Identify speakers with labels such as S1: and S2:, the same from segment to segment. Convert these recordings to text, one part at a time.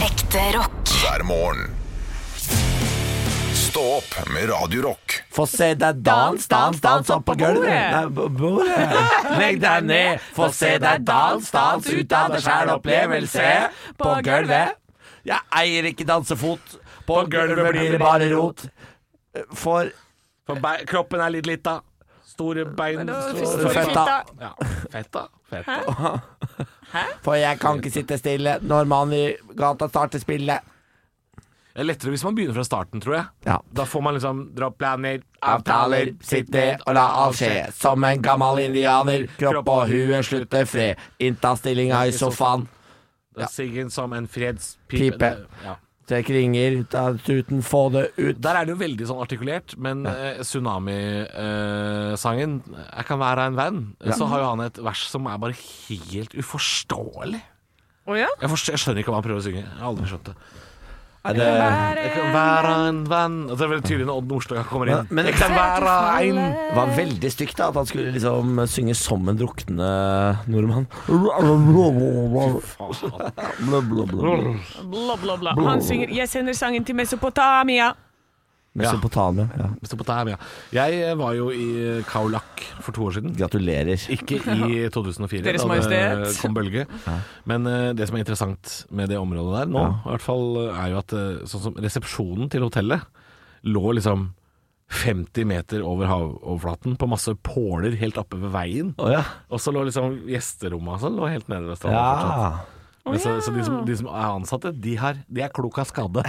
S1: Ekte rock.
S2: hver morgen. Stå opp med Radio Rock.
S3: Få se deg dans, dans, dans opp på gulvet. Nei, b- bordet. Legg deg ned. Få se deg dans, dans ut av deg sjæl. Opplevelse på gulvet. Jeg eier ikke dansefot. På gulvet blir det bare rot. For
S4: For bei, kroppen er litt lita. Store bein.
S3: store
S4: Store
S3: fetta.
S4: Ja. Fetta. Fetta.
S3: For jeg kan ikke sitte stille når mannen i gata starter spillet.
S4: Det er lettere hvis man begynner fra starten, tror jeg.
S3: Ja.
S4: Da får man liksom dra planer,
S3: Avtaler, sitt ned og la alt skje. Som en gammel indianer. Kropp og hue slutter fred. Inntastillinga i sofaen.
S4: Da sigger en som en fredspipe.
S3: Pipe.
S4: Ja.
S3: Trekk ringer ut av tuten, få det ut.
S4: Der er det jo veldig sånn artikulert, men eh, Tsunami-sangen 'Jeg kan være en venn', så har jo han et vers som er bare helt uforståelig.
S5: Å ja?
S4: Jeg, forstår, jeg skjønner ikke hva han prøver å synge. Jeg har aldri skjønt det.
S3: Er det
S4: Jeg kan være en venn Og Det er veldig tydelig når Odd Nordstoga kommer inn.
S3: Men- men-
S4: jeg kan være en
S3: Det var veldig stygt da at han skulle liksom synge som en drukne nordmann.
S5: Bla, bla, bla. Han synger 'Jeg sender sangen til Mesopotamia'.
S3: Mesopotamia. Ja.
S4: Mesopotamia. Jeg eh, var jo i Kaulak for to år siden.
S3: Gratulerer.
S4: Ikke i 2004,
S5: Deres
S4: da det
S5: Majestet.
S4: kom bølge. Men eh, det som er interessant med det området der nå, i hvert fall eh, er jo at eh, sånn som resepsjonen til hotellet lå liksom 50 meter over havoverflaten på masse påler helt oppe ved veien.
S3: Å ja.
S4: Og så lå liksom gjesterommet og sånn lå helt nede ved stranden. fortsatt.
S3: ja.
S4: Men så så de, som, de som er ansatte, de, har, de er klok av skade.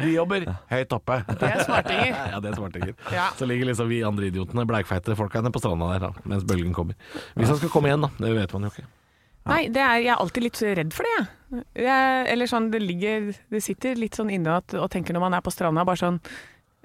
S4: de jobber høyt oppe.
S5: Det er smartinger.
S4: Ja, det er smartinger.
S5: Ja.
S4: Så ligger liksom vi andre idiotene, bleikfeite folka nede på stranda der da, mens bølgen kommer. Hvis han skal komme igjen, da. Det vet man jo ikke.
S5: Nei, det er, jeg er alltid litt redd for det, jeg. jeg eller sånn, det ligger Det sitter litt sånn inne at, og tenker når man er på stranda, bare sånn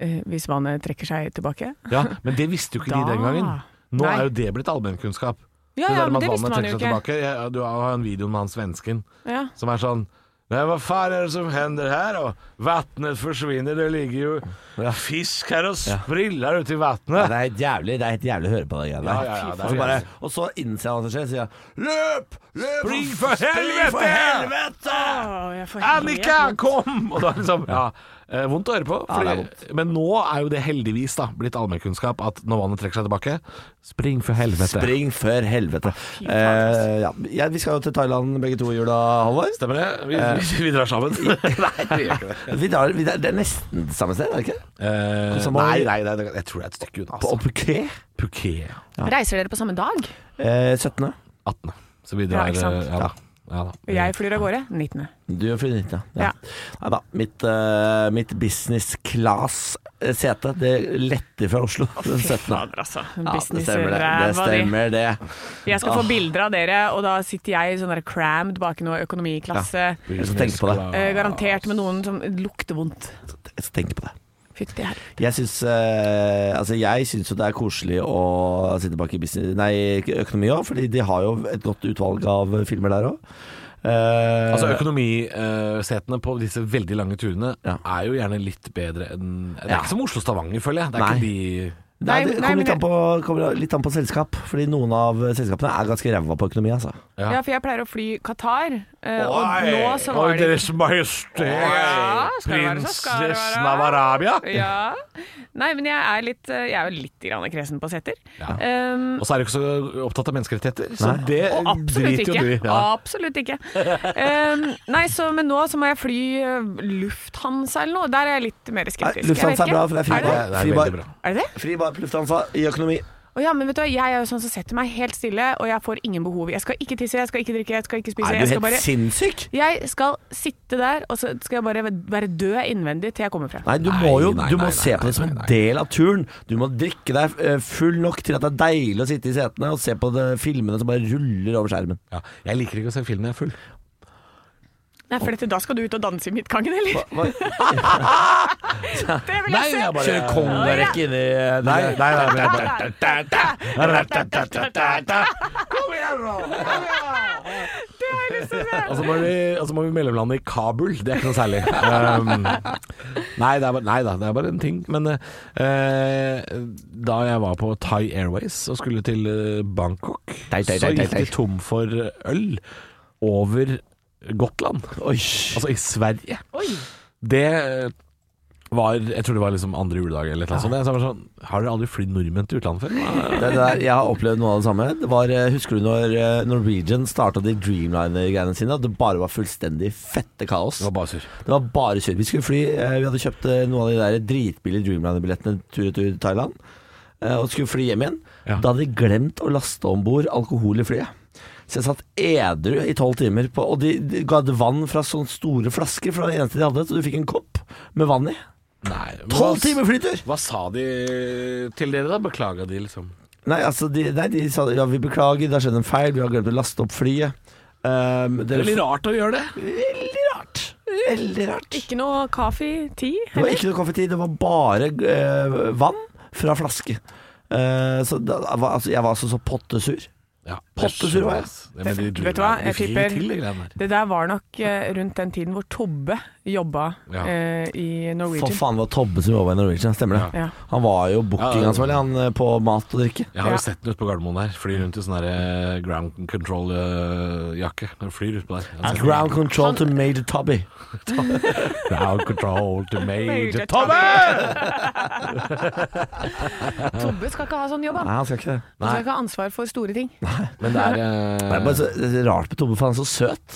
S5: eh, Hvis vannet trekker seg tilbake.
S4: Ja, Men det visste jo ikke de den gangen. Nå
S5: Nei.
S4: er jo det blitt allmennkunnskap.
S5: Ja, ja,
S4: der
S5: men
S4: med
S5: det
S4: at
S5: visste
S4: vannet
S5: man jo
S4: trekker seg
S5: ikke.
S4: tilbake. Jeg, du har jo en video med han svensken
S5: Ja.
S4: som er sånn Nei, hva faen er det som hender her? Og vannet forsvinner, det ligger jo fisk her og spriller ute i
S3: Ja,
S4: vannet.
S3: Det er helt jævlig Det er helt jævlig å høre på det greiene
S4: Ja, ja, ja,
S3: der.
S4: det
S3: Og
S4: er
S3: så bare-
S4: jævlig.
S3: Og så innser han hva som skjer, sier han løp! Løp!
S4: Spring for
S3: Spring for
S4: helvete!»
S3: helvete!
S5: Å, jeg får helt-
S4: Annika, kom! Og da liksom, ja, eh, vondt å høre på.
S3: Ja, det er
S4: fordi- Men nå er jo det heldigvis da blitt allmennkunnskap at når vannet trekker seg tilbake Spring for helvete.
S3: Spring før helvete. Eh, ja. ja, vi skal jo til Thailand begge to i jula, Halvor.
S4: Stemmer det? Vi, vi, vi drar sammen. nei, vi gjør ikke det.
S3: Vi drar, vi drar, det er nesten samme sted, er det ikke?
S4: Eh,
S3: Som
S4: nei,
S3: om-
S4: nei, nei, det- jeg tror det er et stykke unna.
S3: På
S4: Altså.
S3: Opuké.
S4: Phuket.
S5: Reiser dere på samme dag?
S3: Eh, 17.
S4: 18. Så vi drar
S5: Ja, ikke sant.
S4: eh, Ja, da. Ja, da.
S5: Jeg flyr av gårde 19.
S3: Du og fru Nita.
S5: Ja.
S3: Nei da. Mitt, eh, mitt business class-sete, det letter fra Oslo den 17.
S5: altså.
S3: Ja, det stemmer det. Det
S5: Businessræva di.
S3: stemmer Ah. det.
S5: Jeg skal få
S3: Åh.
S5: bilder av dere, og da sitter jeg i sånn der crammed bak i noe økonomiklasse.
S3: Jeg skal tenke på det.
S5: eh, garantert med noen som lukter vondt.
S3: Jeg skal tenke på det.
S5: Fytti her.
S3: Jeg syns eh, altså jeg syns jo det er koselig å sitte bak i business, nei, økonomi òg, fordi de har jo et godt utvalg av filmer der Eh, òg.
S4: Altså Økonomisetene på disse veldig lange turene
S3: Ja.
S4: er jo gjerne litt bedre enn Det er
S3: Ja.
S4: ikke som Oslo-Stavanger, føler jeg. Det er
S3: Nei.
S4: ikke de
S3: Nei, det
S5: Nei,
S3: kommer
S5: men
S3: litt, an på, kommer litt an på selskap, fordi noen av selskapene er ganske ræva på økonomi, altså.
S4: Ja.
S5: Ja, for jeg pleier å fly Qatar, eh, og nå så var
S4: Oi,
S5: det
S4: Deres Majestet,
S5: Ja, skal det være så, skal det være.
S4: prinsessen av Arabia.
S5: ja. Nei, men jeg er litt eh, Jeg er jo litt grann kresen på seter.
S4: Ja.
S5: Um,
S4: Og så er du ikke så opptatt av menneskerettigheter, så
S3: Nei.
S4: det
S5: og absolutt
S4: driter
S5: ikke.
S4: jo du i. Ja.
S5: Absolutt ikke. Um, nei, så, men nå så må jeg fly eh, Lufthansa eller noe. Der er jeg litt mer
S3: Nei,
S5: skeptisk. Jeg vet
S3: Lufthansa er
S5: ikke.
S3: bra, for det er fri
S5: Er det?
S3: bar.
S4: det? Det er
S3: Fri
S4: veldig
S3: bar.
S4: bra.
S5: Er det det?
S3: Fri bar på Lufthansa i økonomi.
S5: Å ja, men vet du hva, Jeg er jo sånn som setter meg helt stille, og jeg får ingen behov. Jeg skal ikke tisse, jeg skal ikke drikke, jeg skal ikke spise.
S3: Er
S5: jeg,
S3: du
S5: skal
S3: helt
S5: bare,
S3: sinnssyk?
S5: jeg skal sitte der, og så skal jeg bare være død innvendig til jeg kommer frem.
S3: Nei, du
S4: Nei,
S3: må jo
S4: nei,
S3: du må
S4: nei,
S3: se
S4: nei,
S3: på det som
S4: nei,
S3: en
S4: nei.
S3: del av turen. Du må drikke deg eh, full nok til at det er deilig å sitte i setene og se på de filmene som bare ruller over skjermen.
S4: Ja. Jeg liker ikke å se film når jeg er full.
S5: Nei, for dette, da skal du ut og danse i midtgangen, eller? Det vil jeg se!
S3: Kjøre kongerekke inn i
S4: Nei,
S3: Nei.
S4: nei, nei, men jeg bare Og så Altså, må vi, og så må vi mellomlande i Kabul. Det er ikke noe særlig. Um, nei, det er bare, nei da, det er bare en ting. Men eh, da jeg var på Thai Airways og skulle til eh, Bangkok,
S3: Thai, Thai,
S4: så
S3: Thai, Thai,
S4: gikk de tom for øl over Gotland,
S3: Oi.
S4: altså i Sverige.
S5: Oi.
S4: Det eh, var Jeg tror det var liksom andre juledag eller noe sånt. Så jeg var sånn Har dere aldri flydd nordmenn til utlandet før?
S3: Det der, jeg har opplevd noe av det samme. Det var, eh, husker du når eh, Norwegian starta de Dreamliner-greiene sine? At det bare var fullstendig fette kaos.
S4: Det var bare surr.
S3: Det var bare kjør. Vi skulle fly. eh, Vi hadde kjøpt eh, noen av de der dritbillige Dreamliner-billettene tur-retur til Thailand. eh, Og skulle fly hjem igjen.
S4: Ja.
S3: Da hadde de glemt å laste om bord alkohol i flyet. Så jeg satt edru i tolv timer, på, og de, de ga vann fra sånne store flasker. For det var det eneste de hadde, så du fikk en kopp med vann i.
S4: Nei, men
S3: Tolv
S4: hva-
S3: timer flytur!
S4: Hva sa de til dere da? Beklaga de, liksom?
S3: Nei, altså, de, nei, de sa ja, vi beklager, det har skjedd en feil, vi har glemt å laste opp flyet. Um,
S4: Det er
S3: dere,
S4: veldig rart å gjøre det.
S3: Veldig rart. Veldig rart.
S5: Ikke noe kaffe, te?
S3: Det var ikke noe konfetti, det var bare eh, vann fra flaske. Eh, så da, var- altså, jeg var altså så pottesur.
S4: Ja,
S3: Pottesur var jeg.
S5: Vet du hva, jeg tipper-
S4: tipper
S5: Det der var nok eh, rundt den tiden hvor Tobbe jobba
S4: Ja.
S5: eh, i
S3: For
S5: Norwegian.
S3: faen, det var Tobbe som jobba i Norwegian, stemmer det?
S5: Ja.
S3: Han var jo
S4: Ja,
S3: bookingansvarlig,
S4: ja.
S3: han, eh, på mat og drikke.
S4: Jeg har
S5: Ja.
S4: jo sett den ute på Gardermoen der. Flyr rundt i sånn der, eh, ground eh, control-jakke. Den flyr utpå der. Altså,
S3: Ground control to Major Tobby.
S4: ground control to
S5: Major
S4: major
S5: Tommy!
S4: Tommy!
S5: Tobbe skal ikke ha sånn jobb, han.
S3: Nei, han skal ikke det.
S5: Han skal ikke ha ansvar for store ting.
S4: Men det er
S3: Det
S4: eh,
S3: er bare så det er rart med Tobbe, for han er så søt.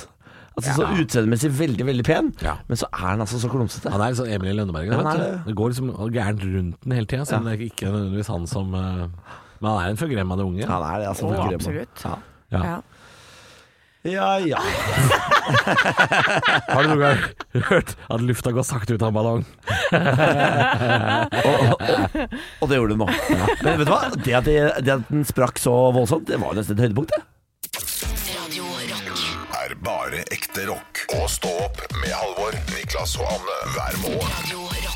S3: Altså Så utseendemessig veldig, veldig pen,
S4: Ja.
S3: men så er han altså så klumsete.
S4: Han er litt sånn Emil i Lønneberg.
S3: Ja, han
S4: vet
S3: er
S4: du. det går liksom gærent rundt den hele tida, så det er ikke nødvendigvis han som eh, Men han er en forgremmede unge.
S3: Han er det, altså.
S5: Å,
S3: veldig grem.
S5: absolutt.
S3: Ja.
S4: Ja.
S5: Ja.
S3: Ja, ja.
S4: Har du noen gang hørt at lufta går sakte ut av en ballong?
S3: Og, og, og det gjorde den nå. Men vet du hva? Det at, det, det at den sprakk så voldsomt, det var jo nesten et høydepunkt, det.
S1: Radio Rock.
S2: Er bare ekte rock. Og stå opp med Halvor, Niklas og Anne hver morgen.
S1: Radio Rock.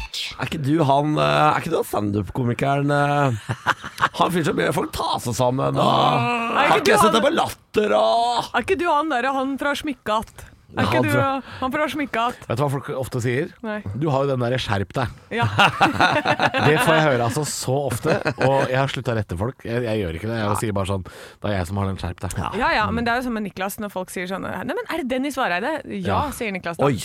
S3: Er ikke du han eh, Er ikke du han standup-komikeren eh, Han fyren som ber folk ta seg sammen og Har
S5: ikke du
S3: ikke sett
S5: han-
S3: deg på latter og
S5: Er ikke du han derre han fra Smykkat? Er ikke
S4: Han
S5: du
S4: fra-
S5: han fra Smykkat?
S4: Vet du hva folk ofte sier?
S5: Nei.
S4: Du har jo den derre 'skjerp deg'.
S5: Ja.
S4: Det får jeg høre altså så ofte, og jeg har slutta å rette folk. Jeg, jeg gjør ikke det. Jeg sier bare sånn Det er jeg som har den 'skjerp deg'.
S5: ja ja, men det er jo som med Niklas når folk sier sånn Nei, men er det Dennis Vareide? Ja,
S4: Ja.
S5: sier Niklas da.
S3: Oi, oi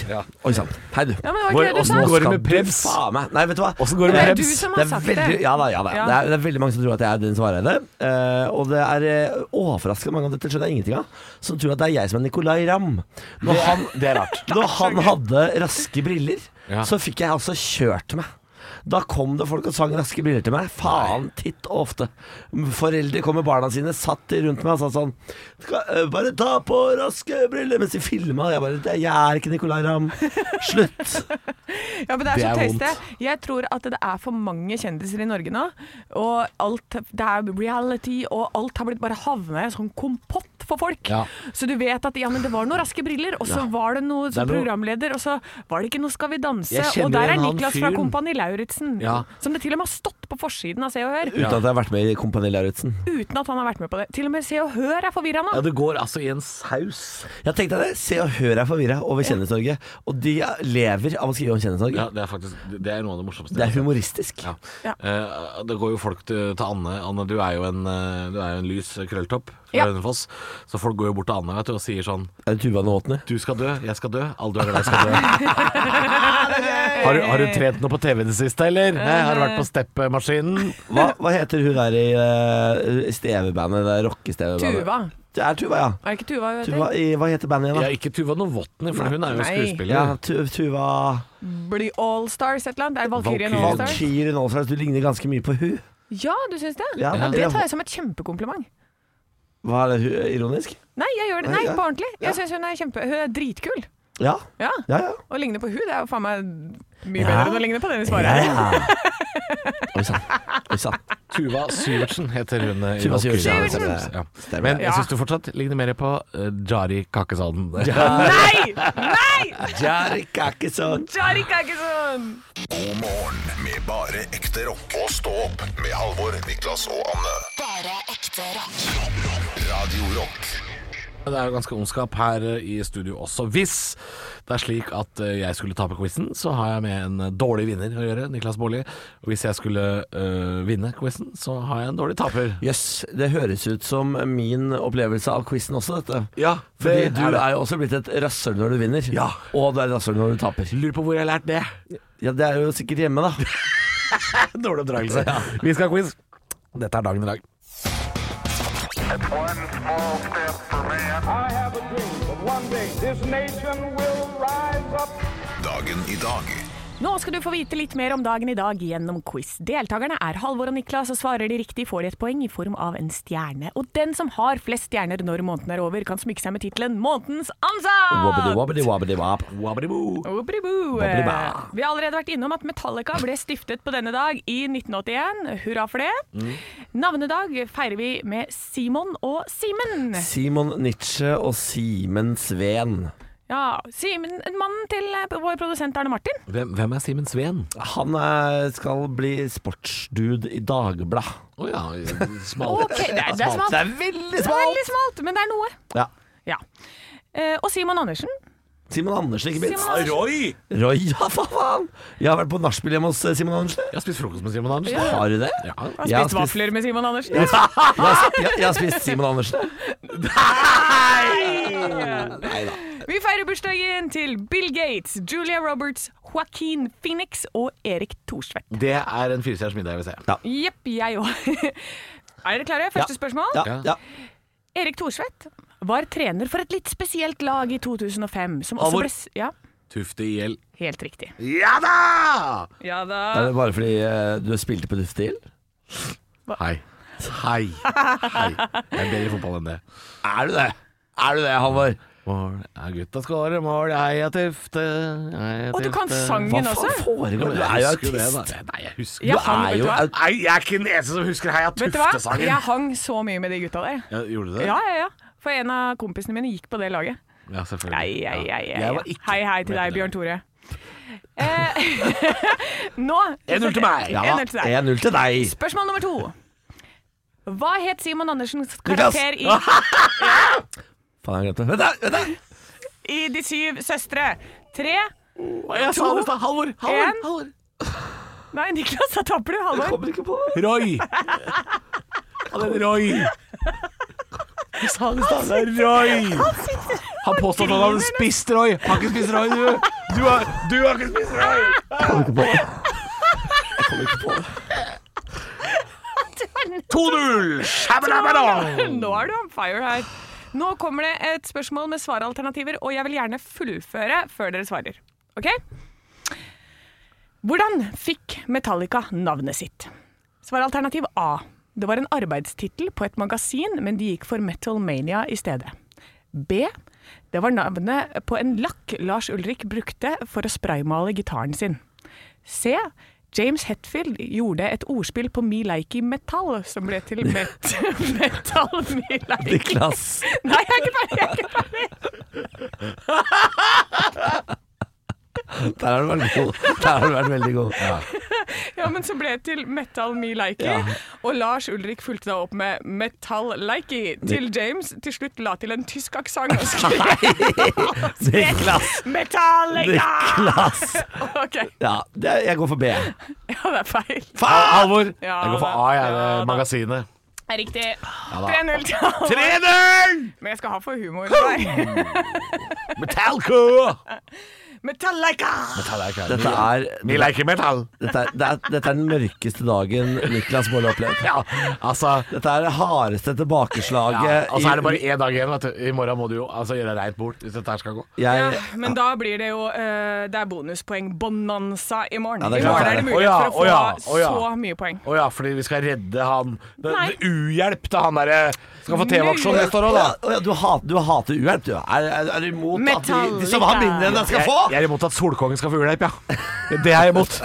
S3: sann. Hei, du.
S5: Ja, men det var ikke det du sa.
S4: Åssen går det
S3: Skal
S4: med Prebz?
S3: du faen meg- Nei, vet du hva? Eh,
S4: Åssen går det
S5: Det er
S4: med
S5: du
S4: Prebz?
S5: som
S3: Det
S5: har
S3: er
S5: sagt
S3: veldig,
S5: det.
S3: ja da, ja da.
S5: Ja.
S3: Det, er, det er veldig mange som tror at jeg er den som er det. Eh, og det er eh, overraskende mange, og dette skjønner jeg ingenting av, som tror at det er jeg som er Nicolay Ramm. Når han,
S4: Det er rart.
S3: Når han hadde raske briller,
S4: Ja.
S3: så fikk jeg altså kjørt meg. Da kom det folk og sang raske briller til meg. Faen titt og ofte. Foreldre kom med barna sine, satt de rundt meg og sa sånn «Skal, eh, Bare ta på raske briller mens de filma. Jeg bare «Det- Jeg er ikke Nicolay Ramm. Slutt.
S5: Ja, men det er,
S4: Det
S5: så
S4: er
S5: tøyste. Jeg tror at det er for mange kjendiser i Norge nå. Og alt, det er reality, og alt har blitt bare havna i en sånn kompott for folk.
S4: Ja.
S5: Så du vet at ja, men det var noen raske briller, og så var det noe som
S4: Det er noe-
S5: programleder, og så var det ikke noe Skal vi danse,
S4: Jeg kjenner
S5: og der er
S4: igjen han
S5: Niklas fra
S4: fyren.
S5: Kompani Lauritzen.
S4: Ja.
S5: Som det til og med har stått på forsiden av Se og Hør,
S3: Uten at jeg har vært med i Kompani Lauritzen.
S5: uten at han har vært med på det. Til og med Se og Hør er forvirra nå.
S4: Ja, det går altså i en saus.
S3: Jeg tenkte det. Se og Hør er forvirra over Kjendis-Norge. Og de lever av å skrive om Kjendis-Norge.
S4: Ja, det er faktisk Det er noe av det morsomste.
S3: Det er humoristisk.
S4: Ja.
S5: Ja.
S4: Eh, det går jo folk til, til Anne. Anne, du er jo en, eh, du er jo en lys krølltopp fra
S5: Ja.
S4: Hønefoss. Så folk går jo bort til Anne vet du, og sier sånn
S3: Er det Tuva Nåtene?
S4: Du skal dø, jeg skal dø, alle du er glad i skal dø. har, du, har du trent noe på TV i det siste, eller? Hæ? Har du vært på steppemaskinen?
S3: Hva, hva heter hun der i uh, stevebandet? Det rockestevebandet?
S5: Tuva.
S3: Det er Tuva, ja.
S5: Er det ikke Tuva hun heter?
S3: Tuva, i, hva heter bandet
S4: Ja,
S3: igjen, da?
S4: ikke Tuva Novotny, for hun er jo
S5: Nei.
S4: skuespiller.
S3: Ja, tu, Tuva
S5: Blir Allstars et eller annet? Er
S4: Valkyrien.
S5: Valkyrien Allstars?
S3: Valkyrien Allstars. Du ligner ganske mye på hun.
S5: Ja, du syns det?
S3: Ja,
S5: Men Det
S3: eller-
S5: tar jeg som et kjempekompliment.
S3: Hva er det, hun, ironisk?
S5: Nei, jeg gjør det.
S3: Nei,
S5: Nei,
S3: ja.
S5: på ordentlig.
S3: Ja.
S5: Jeg syns hun er kjempe... Hun er dritkul.
S3: Ja,
S5: Ja.
S3: ja. ja.
S5: Å ligne på hun, det er jo faen meg mye
S3: Ja.
S5: bedre enn å ligne på Dennis Vareide.
S3: Ja, ja. Oi sann. Oi sann.
S4: Tuva Syvertsen heter hun. eh, i
S3: Tuva
S4: Valkyrie.
S3: Syvertsen.
S4: Ja.
S3: Stemmer.
S4: Men jeg
S5: Ja.
S4: syns du fortsatt ligner mer på eh, Jari Kakesaden.
S5: Nei! Nei!
S3: Jarek er ikke sånn.
S5: Charik er ikke sånn!
S2: God morgen med bare ekte rock. Og stå opp med Halvor, Niklas og Anne.
S1: Bare ekte rock.
S2: Radio Rock.
S4: Det er jo ganske ondskap her eh, i studio også. Hvis det er slik at eh, jeg skulle tape quizen, så har jeg med en eh, dårlig vinner å gjøre, Niklas Baarli. Og hvis jeg skulle eh, vinne quizen, så har jeg en dårlig taper.
S3: Jøss, det høres ut som min opplevelse av quizen også, dette.
S4: Ja,
S3: Fordi du er, jo også blitt et rasshøl når du vinner,
S4: Ja.
S3: og du er et rasshøl når du taper.
S4: Lurer på hvor jeg har lært det.
S3: Ja, Det er jo sikkert hjemme, da.
S4: Dårlig oppdragelse. Vi skal ha quiz. Dette er dagen i dag.
S6: One small step for man.
S7: I have a dream that one day this nation will rise up.
S2: Dagen i dag.
S5: Nå skal du få vite litt mer om dagen i dag gjennom quiz. Deltakerne er Halvor og Niklas, og svarer de riktig får de et poeng i form av en stjerne. Og den som har flest stjerner når måneden er over, kan smykke seg med tittelen 'Månedens ansatt'!
S3: Wobbidi-wobbidi-wobbidi-wobb.
S4: Wabbidi-boo.
S5: Obribo.
S3: Bobliba.
S5: Vi har allerede vært innom at Metallica ble stiftet på denne dag i 1981. Hurra for det.
S3: Mm.
S5: Navnedag feirer vi med Simon og Simen.
S3: Simon Nietzsche og Simen Sveen.
S5: Ja, Simen, mannen til eh, vår produsent Arne Martin.
S4: Hvem, hvem er Simen Sveen?
S3: Han er, skal bli sportsdude i Dagbladet.
S4: Å ja, smal.
S5: Ok, det, er, det er smalt.
S3: Det er veldig
S5: Det er
S3: smalt!
S5: veldig smalt, men det er noe.
S3: Ja.
S5: Ja. Eh, og Simon Andersen.
S3: Simon Andersen, ikke minst.
S5: Simon Andersen.
S4: Roy!
S3: Roy, ja, for faen! Jeg har vært på nachspiel hjemme hos eh, Simon Andersen.
S4: Jeg har spist frokost med Simen Andersen.
S3: Har du det?
S4: Ja.
S5: Har
S3: Jeg har
S5: spist vafler med Simon Andersen.
S3: Jeg har sp- jeg har sp- jeg har spist Simon Andersen.
S5: Vi feirer bursdagen til Bill Gates, Julia Roberts, Joaquin Phoenix og Erik Thorstvedt.
S4: Det er en firestjerners middag jeg vil se.
S5: Jepp, jeg òg. Er dere klare? Første spørsmål.
S3: Mm. Ja, ja.
S5: Erik Thorsvedt var trener for et litt spesielt lag i 2005. Som
S3: Halvor.
S5: også ble, s- ja,
S4: Tufte IL.
S5: helt riktig.
S4: Ja da!
S5: Ja
S3: Er
S5: da.
S3: det bare fordi eh, du spilte på Duftil?
S4: Hei. Hei. Hei. Jeg er bedre i fotball enn det.
S3: Er du det? Er du det, Halvor?
S4: Mål er gutta skårer mål, heia Tufte. Heia
S5: Og du kan
S4: Tufte.
S5: sangen
S3: Hva
S5: også.
S3: faen
S4: Ja,
S3: foregår?
S4: men
S3: Du er
S4: jeg
S3: jo
S4: husker jo det,
S3: autist.
S4: da. Nei, jeg husker
S5: Jeg
S3: Du
S5: hang,
S3: er
S5: vet du
S3: jo
S5: hva?
S3: aut...
S4: Nei, jeg er ikke den eneste som husker Heia
S5: Vet du hva? Jeg hang så mye med de gutta der.
S4: Ja, gjorde du det?
S5: Ja, ja, ja. For en av kompisene mine gikk på det laget.
S4: Ja, selvfølgelig.
S5: Ei, ei,
S4: Ja.
S5: ei, ei.
S4: Jeg var ikke
S5: Hei, hei til
S4: med
S5: deg,
S4: på det.
S5: Bjørn Tore. Eh, nå
S4: 1-0 til meg.
S5: Ja,
S4: Ja,
S5: 1-0 til deg.
S3: 1-0 til deg.
S5: Spørsmål nummer to. Hva het Simon Andersens
S3: Niklas!
S5: karakter i,
S3: Faen, jeg glemte Vent, da, vent, da!
S5: i De syv søstre? Tre
S4: Å, Jeg sa det i stad. Halvor. Halvor.
S5: En.
S4: Halvor.
S5: Nei, Niklas, da taper du.
S3: Jeg
S5: Halvor.
S3: kommer ikke på
S4: Roy. Han heter Roy. Jeg sa det i stad. Det er Roy. Han påstod at han hadde spist Roy. Har ikke spist Roy, du. Du har, du har ikke spist Roy. Jeg kommer ikke på det. 2-0!
S5: Nå er du on fire her. Nå kommer det et spørsmål med svaralternativer, og jeg vil gjerne fullføre før dere svarer. OK? Hvordan fikk Metallica navnet sitt? Svaralternativ A. Det var en arbeidstittel på et magasin, men de gikk for Metal Mania i stedet. B. Det var navnet på en lakk Lars Ulrik brukte for å spraymale gitaren sin. C. James Hetfield gjorde et ordspill på Me Likey Metal, som ble til met Metal Me Likey.
S3: Niklas.
S5: Nei, jeg er ikke ferdig! Jeg er ikke ferdig.
S3: Der har du vært god. Der har du vært veldig god.
S5: Ja, men som ble til Metal Me Likey. Og Lars Ulrik fulgte da opp med Metal Likey til James. Til slutt la til en tysk aksent og skrev
S3: Niklas.
S5: Metal
S3: Niklas.
S5: OK.
S3: Ja, det, jeg går for B.
S5: Ja, det er feil.
S4: Al- Alvor.
S5: Ja,
S4: Jeg går for
S5: da.
S4: A, jeg. Det
S5: Ja, da.
S4: er magasinet.
S5: Det er riktig. 3-0 til alle.
S4: 3-0!
S5: Men jeg skal ha for humor. Nei.
S4: Metalco!
S5: Metal Likey!
S3: Dette er,
S4: Vi
S3: dette,
S4: liker metall.
S3: er, det er, dette er den mørkeste dagen Niklas Baarli har opplevd.
S4: Ja, altså
S3: Dette er det hardeste tilbakeslaget
S4: ja, altså er det bare
S3: i,
S4: én dag igjen. Vet du. I morgen må du jo altså, gjøre reint bort hvis dette her skal gå.
S5: Ja,
S3: jeg,
S5: men da blir det jo eh, Det er bonuspoeng-bonanza i
S3: Ja,
S5: morgen.
S3: det er
S5: I morgen
S3: klart
S5: er
S3: det
S5: det
S4: er.
S5: mulighet
S4: Å ja,
S5: for å
S4: å
S5: få
S4: ja, å ja.
S5: så mye poeng.
S4: Å ja, fordi vi skal redde han. Det,
S5: Nei.
S4: det uhjelp til han derre Skal få TV-aksjon neste år òg, da.
S3: Å ja, du, hat, du hater uhjelp, du. Er, er, er du imot at de, de som
S5: Metallica.
S3: har mindre enn de skal få?
S4: Jeg, jeg er imot at Solkongen skal få uhjelp, ja. Det er jeg imot.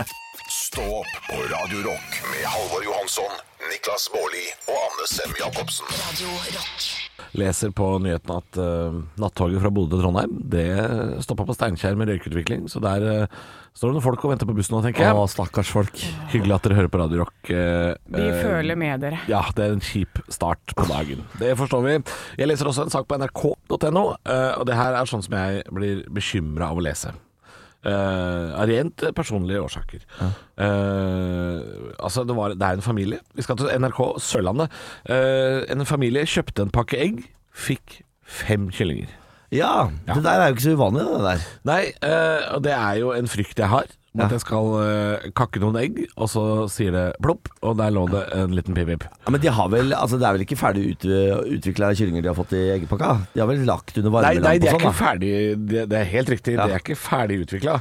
S2: Stå opp på Radio Rock med Halvor Johansson, Niklas Baarli og Anne Sem Jacobsen.
S8: Radio Rock.
S4: Leser på nyhetene at eh, nattoget fra Bodø til Trondheim Det stoppa på Steinkjer med røykutvikling, så der eh, står det noen folk og venter på bussen nå, tenker jeg.
S3: Å, stakkars folk.
S4: Hyggelig at dere hører på Radio Rock. eh,
S5: Vi
S4: eh,
S5: føler med dere.
S4: Ja, det er en kjip start på dagen. Det forstår vi. Jeg leser også en sak på nrk.no, eh, og det her er sånn som jeg blir bekymra av å lese. Eh, Av rent personlige årsaker. Eh, altså, det, var, det er en familie. Vi skal til NRK Sørlandet. Eh, en familie kjøpte en pakke egg, fikk fem kyllinger.
S3: Ja, det der er jo ikke så uvanlig, det der.
S4: Nei, eh, og det er jo en frykt jeg har. Om
S3: Ja.
S4: At jeg skal eh, kakke noen egg, og så sier det plopp, og der lå det en liten pip-pip.
S3: Ja, men de har vel, altså Det er vel ikke ferdig ut, utvikla kyllinger de har fått i eggepakka? De har vel lagt under
S4: Nei, nei,
S3: varmelamp og
S4: de er
S3: sånn?
S4: ikke
S3: da.
S4: ferdig Det, det er helt riktig,
S3: Ja.
S4: de er ikke ferdig utvikla.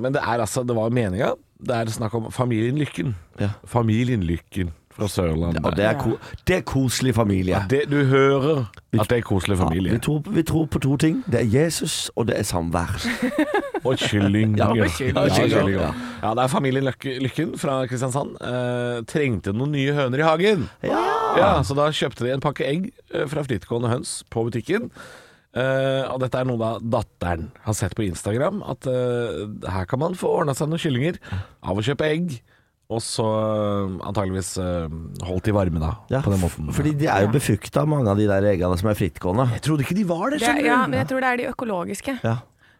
S4: men det er altså Det var meninga. Det er snakk om familien Lykken.
S3: Ja.
S4: Familien Lykken fra Sørlandet.
S3: Ja, det, er ko det er koselig familie.
S4: Ja, det du hører at det er koselig
S3: Ja, vi,
S4: familie.
S3: tror, vi tror på to ting. Det er Jesus, og det er samvær.
S4: Og kylling.
S3: Ja,
S4: Ja,
S3: og kylling.
S4: kylling,
S3: Ja,
S4: ja.
S3: ja.
S4: ja, det er familien Løkke- Lykken fra Kristiansand. eh, trengte noen nye høner i hagen. Ja, Så da kjøpte de en pakke egg eh, fra frittgående høns på butikken. Eh, og dette er noe da datteren har sett på Instagram, at eh, her kan man få ordna seg noen kyllinger av å kjøpe egg. Og så eh, antageligvis eh, holdt de varme, da.
S3: Ja,
S4: på den måten.
S3: Fordi de er jo befrukta, mange av de der eggene som er frittgående.
S4: jeg trodde ikke de var det,
S5: Det er, ja, men jeg tror det er de økologiske.
S3: Ja.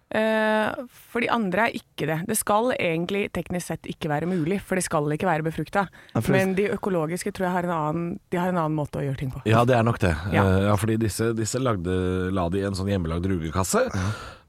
S5: Eh, for de andre er ikke det. Det skal egentlig teknisk sett ikke være mulig, for de skal ikke være befrukta.
S3: Ja, for-
S5: Men de økologiske tror jeg har en annen, de har en annen måte å gjøre ting på.
S4: Ja, det er nok det.
S5: Ja.
S4: Eh, ja fordi disse, disse lagde, la de i en sånn hjemmelagd rugekasse.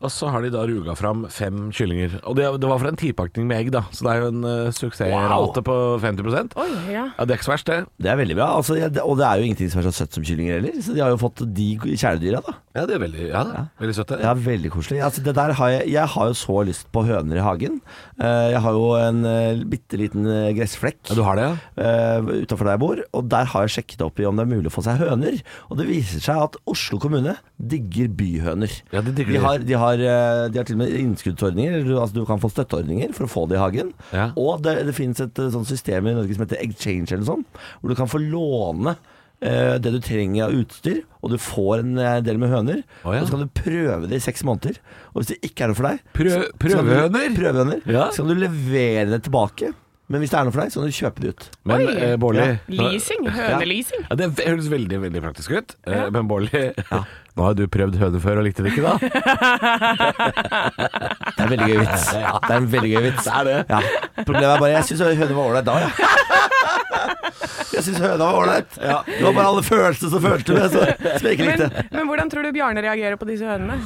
S4: Og så har de da ruga fram fem kyllinger. Og det, det var for en tipakning med egg, da. Så det er jo en eh, suksessrate på 50
S5: Oi, ja.
S4: Ja, Det er ikke så verst, det.
S3: Det er veldig bra. Altså, ja, det- og det er jo ingenting som er så søtt som kyllinger heller. Så de har jo fått de kjæledyra, da.
S4: Ja, det er veldig, ja, det er veldig søtt. det.
S3: Ja, veldig koselig. Altså, det der har jeg, jeg har jo så lyst på høner i hagen. Eh, Jeg har jo en uh, bitte liten gressflekk.
S4: Ja, du har det, ja?
S3: uh, utenfor der jeg bor, og der har jeg sjekket opp i om det er mulig å få seg høner. Og det viser seg at Oslo kommune digger byhøner.
S4: Ja, de digger
S3: de
S4: det.
S3: har, de, har, eh, de har til og med innskuddsordninger, eller du- altså du kan få støtteordninger for å få det i hagen.
S4: Ja.
S3: Og det, det finnes et eh, sånt system i Norge som heter Exchange eller sånn, hvor du kan få låne eh, det du trenger av utstyr, og du får en eh, del med høner.
S4: Å, ja.
S3: Og så kan du prøve det i seks måneder. Og hvis det ikke er noe for deg
S4: Prø-
S3: så- så kan du-
S4: prøvehøner?
S3: Prøvehøner.
S4: Ja.
S3: Så kan du levere det tilbake. Men hvis det er noe for deg, så kan du kjøpe det ut.
S4: Men
S5: Oi.
S4: eh, Bårli
S5: Leasing? Høneleasing?
S4: Ja, Det høres veldig veldig praktisk ut. Eh, Men Bårli, nå har du prøvd høne før og likte det ikke, da?
S3: Det er en veldig gøy vits. Det er en veldig gøy vits. Ja. Problemet er bare jeg syns høna var ålreit da, ja. Jeg syns høna var ålreit. Det var bare alle følelsene som følte det, så, som jeg ikke
S5: Men,
S3: likte.
S5: men hvordan tror du Bjarne reagerer på disse hønene?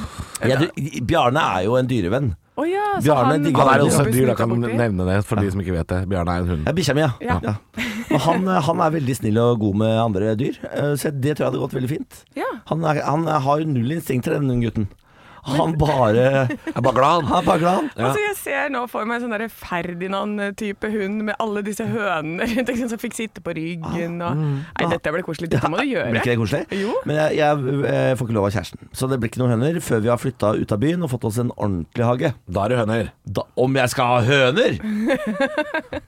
S3: Ja, du, Bjarne er jo en dyrevenn.
S5: Å ja, så
S3: Bjarne
S5: han,
S3: digger
S4: Han er
S3: Ja,
S4: også et dyr, da kan
S5: borti.
S4: nevne det for de som ikke vet det. Bjarne er en hund.
S3: Det er bikkja mi, ja.
S5: Ja.
S3: ja. Og han, eh, han er veldig snill og god med andre dyr, eh, så det tror jeg hadde gått veldig fint.
S5: Ja.
S3: Han, er, han har jo null instinkter, den gutten. Han bare
S4: Jeg er bare glad,
S3: Han er bare glad. han.
S5: Altså, jeg ser nå for meg en sånn der Ferdinand-type hund med alle disse hønene rundt ikke sant, som fikk sitte på ryggen
S3: Ah,
S5: og Nei, dette ble koselig. Dette må du
S3: Blir mm. ikke
S5: gjøre.
S3: det koselig?
S5: Jo.
S3: Men jeg, jeg, eh, får ikke lov av kjæresten, så det blir ikke noen høner før vi har flytta ut av byen og fått oss en ordentlig hage.
S4: Da er det høner.
S3: Da, om jeg skal ha høner!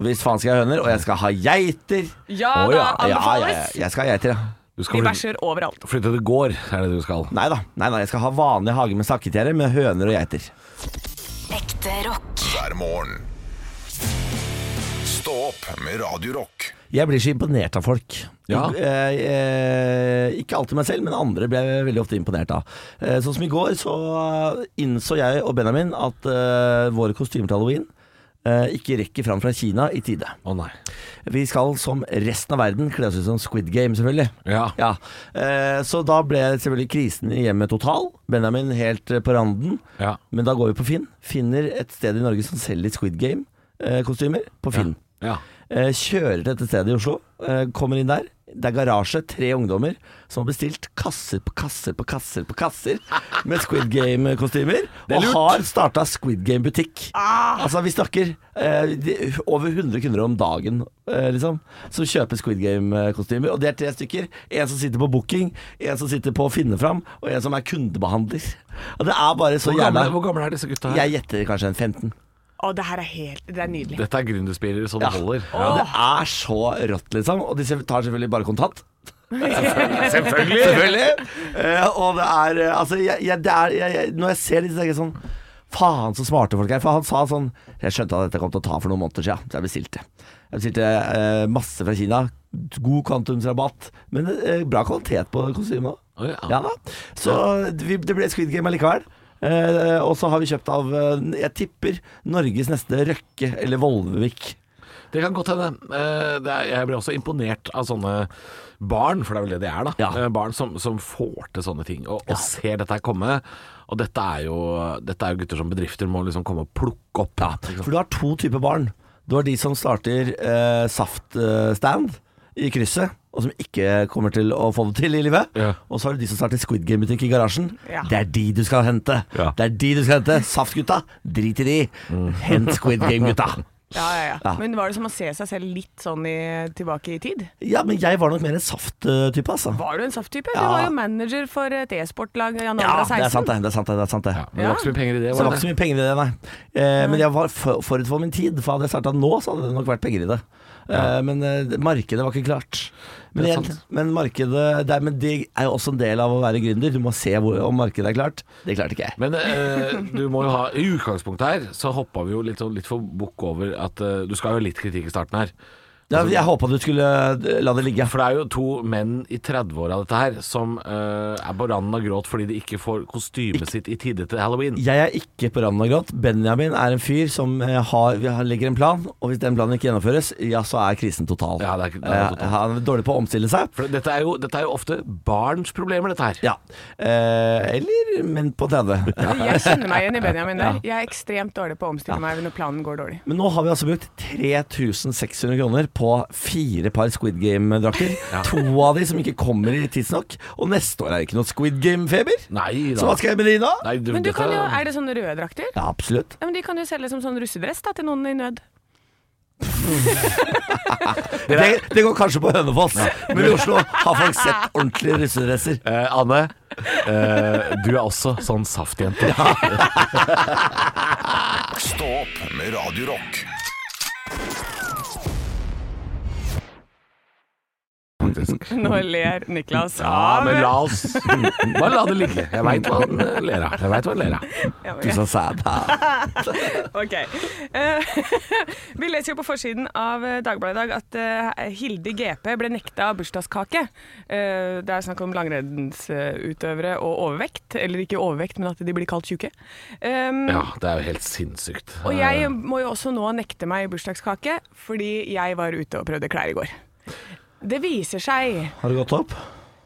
S3: Hvis faen skal jeg ha høner, og jeg skal ha geiter.
S5: Ja
S3: Å
S5: da,
S3: ja, ja, ja,
S5: anbefales!
S3: jeg skal ha geiter, ja.
S4: Du skal
S5: De
S4: flytte-
S5: bæsjer overalt.
S4: flytte til gård, er det du skal.
S3: Nei da. Nei, nei, jeg skal ha vanlig hage med sakketerre med høner og geiter.
S1: Ekte rock.
S2: hver morgen. Stå opp med Radio Rock.
S3: Jeg blir så imponert av folk.
S4: Ja.
S3: Eh, eh, ikke alltid meg selv, men andre ble jeg veldig ofte imponert av. Eh, sånn som i går, så innså jeg og Benjamin at eh, våre kostymer til halloween eh, ikke rekker fram fra Kina i tide.
S4: Å nei.
S3: Vi skal som resten av verden kle oss ut som Squid Game, selvfølgelig.
S4: Ja.
S3: Ja, eh, Så da ble selvfølgelig krisen i hjemmet total. Benjamin helt eh, på randen.
S4: Ja.
S3: Men da går vi på Finn. Finner et sted i Norge som selger Squid Game-kostymer på Finn.
S4: ja.
S3: Eh, Kjører til dette stedet i Oslo, eh, kommer inn der. Det er garasje, tre ungdommer som har bestilt kasser på kasser på kasser på kasser med Squid Game-kostymer.
S4: er
S3: Og
S4: lurt.
S3: har starta Squid Game-butikk.
S4: Ah.
S3: Altså, vi snakker eh, de, over 100 kunder om dagen, eh, liksom, som kjøper Squid Game-kostymer. Og det er tre stykker. En som sitter på booking, en som sitter på å finne fram, og en som er kundebehandler. Og det er bare så
S4: Hvor, gamle,
S3: jævla
S4: hvor gamle er disse gutta? her?
S3: Jeg gjetter kanskje en 15.
S5: Å, det her er helt Det er nydelig.
S4: Dette er gründerspirere så det
S3: Ja.
S4: holder.
S3: Ja, det er så rått, liksom. Og disse tar selvfølgelig bare kontant.
S4: Selvfølgelig!
S3: Selvfølgelig. Eh, og det er eh, Altså, jeg, jeg, det er, jeg, jeg, når jeg ser disse, tenker jeg sånn Faen, så smarte folk er. For han sa sånn Jeg skjønte at dette kom til å ta for noen måneder siden, så jeg bestilte. Jeg bestilte eh, masse fra Kina. God kvantumsrabatt, men eh, bra kvalitet på kostymet òg.
S4: Å, ja.
S3: Ja da. Så vi, det ble Squid Game allikevel. Eh, og så har vi kjøpt av eh, Jeg tipper Norges neste Røkke eller Volvik.
S4: Det kan godt hende. Eh, det er, jeg blir også imponert av sånne barn, for det er vel det de er, da.
S3: Ja.
S4: Eh, Barn som, som får til sånne ting, og, og ser dette her komme. Og dette er, jo, dette er jo gutter som bedrifter må liksom komme og plukke opp. ikke sant?
S3: For du har to typer barn. Du har de som starter eh, saftstand i krysset, og som ikke kommer til å få det til i livet.
S4: Ja.
S3: Og så har du de som starter Squid Game-butikk i garasjen.
S5: Ja.
S3: Det er de du skal hente.
S4: Ja. Mm.
S3: Det er de du skal hente. Saftgutta, drit i de. Hent Squid Game-gutta.
S5: Ja, ja, ja.
S3: Ja.
S5: Men var det som å se seg selv litt sånn i, tilbake i tid?
S3: Ja, men jeg var nok mer en saft-type, altså.
S5: Var du en safttype?
S3: Ja.
S5: Du var jo manager for et e-sportlag i
S3: Ja,
S5: Anandra
S3: det er
S5: 16.
S3: sant det. Det er sant det. det, er sant det.
S4: Men det var ikke så mye penger i det.
S3: Så det
S4: Var
S3: var
S4: det?
S3: ikke så mye penger i det, nei. Eh, men jeg var for, forut for min tid, for hadde jeg starta nå, så hadde det nok vært penger i det. Eh, men eh, markedet var ikke klart. Men,
S4: Det er
S3: igjen,
S4: sant.
S3: men markedet det er, men det er jo også en del av å være gründer. Du må se hvor, om markedet er klart. Det klarte ikke jeg.
S4: Men eh, du må jo ha I utgangspunktet her så hoppa vi jo litt, sånn- litt for bukk over at eh, Du skal jo ha litt kritikk i starten her.
S3: Ja, jeg håpa du skulle eh, la det ligge.
S4: For det er jo to menn i 30-åra dette her som eh, er på randen av gråt fordi de ikke får kostymet sitt i tide til halloween.
S3: Jeg er ikke på randen av gråt. Benjamin er en fyr som eh, har, vi har- legger en plan, og hvis den planen ikke gjennomføres, ja, så er krisen total.
S4: Ja, det er- det er total.
S3: Eh, han er dårlig på å omstille seg.
S4: For dette er, jo, dette er jo ofte barns problemer, dette her.
S3: Ja. Eh, eller menn på 30.
S5: Jeg kjenner meg igjen i Benjamin der. Jeg er ekstremt dårlig på å omstille meg når planen går dårlig.
S3: Men nå har vi altså brukt 3600 kroner på fire par Squid Game-drakter. To av de som ikke kommer i tidsnok. Og neste år er det ikke noe Squid Game-feber.
S4: Nei
S3: Så
S4: da.
S3: hva skal jeg med de nå?
S4: Nei, du,
S5: Men du
S4: dette-
S5: kan jo, er det sånne røde drakter?
S3: Ja, absolutt.
S5: Ja, men De kan jo selge som sånn russedress da, til noen i nød.
S3: Det, det går kanskje på Hønefoss, men i Oslo har folk sett ordentlige russedresser.
S4: Eh, Anne, eh, du er også sånn saftjente.
S2: Stå opp med Radio Rock.
S5: Nå ler Niklas
S4: Ja,
S5: av
S4: men la oss Bare la det ligge. Jeg veit hva han eh, ler av. Jeg vet hva han ler av.
S5: Ja, men-
S3: Du sa sæd.
S5: Ok. Eh, vi leser jo på forsiden av eh, Dagbladet i dag at eh, Hilde GP ble nekta bursdagskake. Eh, det er snakk om langrennsutøvere og overvekt. Eller ikke overvekt, men at de blir kalt tjuke. Um,
S4: Ja, det er jo helt sinnssykt.
S5: Og jeg må jo også nå nekte meg bursdagskake, fordi jeg var ute og prøvde klær i går. Det viser seg
S3: Har det gått opp?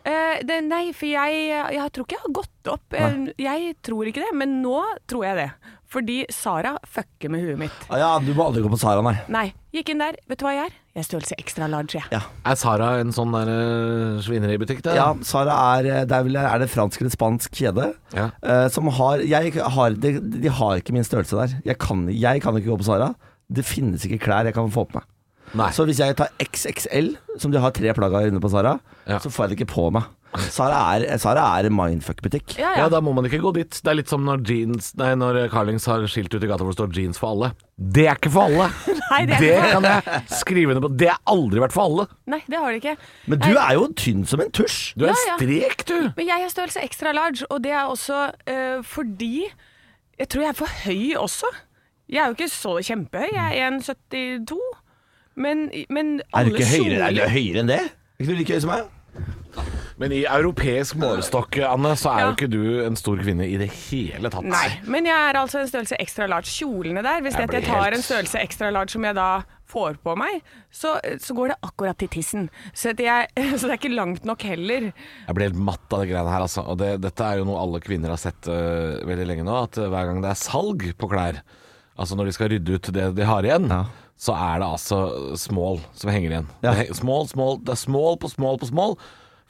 S5: Eh, det, nei, for jeg, jeg tror ikke jeg har gått opp. Eh, Jeg tror ikke det, men nå tror jeg det. Fordi Sara fucker med huet mitt.
S3: Ah, ja, du må aldri gå på Sara, nei.
S5: Nei, gikk inn der. Vet du hva jeg er? Jeg er størrelse extra large, jeg.
S3: Ja.
S4: Er Sara en sånn der eh, svineributikk, da?
S3: Ja, Sara er eh, Det er, vel, er det fransk eller spansk kjede.
S4: Ja.
S3: eh, som har, jeg har de, de har ikke min størrelse der. Jeg kan, jeg kan ikke gå på Sara. Det finnes ikke klær jeg kan få på meg.
S4: Nei.
S3: Så hvis jeg tar XXL, som de har tre plagg av inne på Sara,
S4: Ja.
S3: så får jeg det ikke på meg. Sara er, Sara er en mindfuck-butikk.
S5: Ja,
S4: Ja,
S5: ja.
S4: da må man ikke gå dit. Det er litt som når, jeans, nei, når eh, Carlings har skilt ut i gata hvor det står 'jeans for alle'. Det er ikke for alle!
S5: Nei, det er ikke for
S4: kan jeg skrive under på. Det har aldri vært for alle.
S5: Nei, det har de ikke.
S3: Men du er jo tynn som en tusj.
S4: Du er
S5: Ja,
S4: en
S5: ja.
S4: strek, du!
S5: Men jeg er størrelse extra large, og det er også eh, fordi Jeg tror jeg er for høy også. Jeg er jo ikke så kjempehøy. Jeg er 1,72. Men, men
S3: Er du
S5: alle
S3: ikke høyere, er du
S5: kjoler-
S3: høyere enn det? Er ikke du like høy som meg?
S4: Men i europeisk målestokk, Anne, så er
S5: Ja.
S4: jo ikke du en stor kvinne i det hele tatt.
S5: Nei, men jeg er altså en størrelse extra large. Kjolene der, hvis
S4: Jeg
S5: jeg, jeg
S4: blir
S5: tar
S4: helt-
S5: en størrelse extra large som jeg da får på meg, så, så går det akkurat til tissen. Så, at jeg, så det er ikke langt nok heller.
S4: Jeg ble helt matt av det greiene her, altså. Og det, dette er jo noe alle kvinner har sett øh, veldig lenge nå, at øh, hver gang det er salg på klær, altså når de skal rydde ut det de har igjen, så er det altså øh, small som henger igjen.
S3: Ja.
S4: Det, he- small, small, det er small på small på small.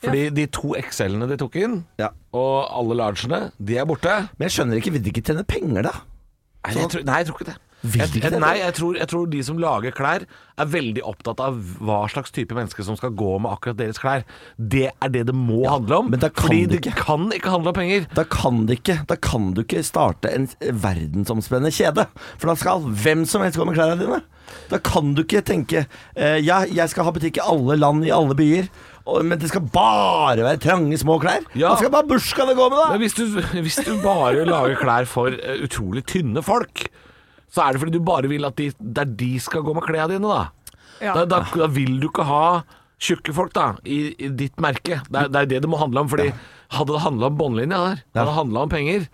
S4: Fordi de to XL-ene de tok inn,
S3: Ja.
S4: og alle largene, de er borte.
S3: Men jeg skjønner ikke, vil de ikke tjene penger da?
S4: Nei, jeg tror, nei, jeg tror ikke det.
S3: Vil
S4: Jeg,
S3: de ikke det?
S4: nei, jeg tror, jeg tror de som lager klær, er veldig opptatt av hva slags type menneske som skal gå med akkurat deres klær. Det er det det må handle om.
S3: men da kan
S4: fordi
S3: det
S4: det
S3: ikke.
S4: kan ikke handle om penger.
S3: Da kan, de ikke, da kan du ikke starte en verdensomspennende kjede. For da skal hvem som helst gå med klærne dine. Da kan du ikke tenke eh, ja, jeg skal ha butikk i alle land, i alle byer, og, men det skal bare være trange, små klær.
S4: Ja.
S3: Hva skal bare bursdagene gå med, da?
S4: Men hvis du, hvis du bare lager klær for eh, utrolig tynne folk, så er det fordi du bare vil at de, det er de skal gå med klærne dine, da.
S5: Ja.
S4: Da, da. Da vil du ikke ha tjukke folk, da, i, i ditt merke. Det er, det er det det må handle om. Fordi hadde det handla om båndlinja der, hadde det handla om penger,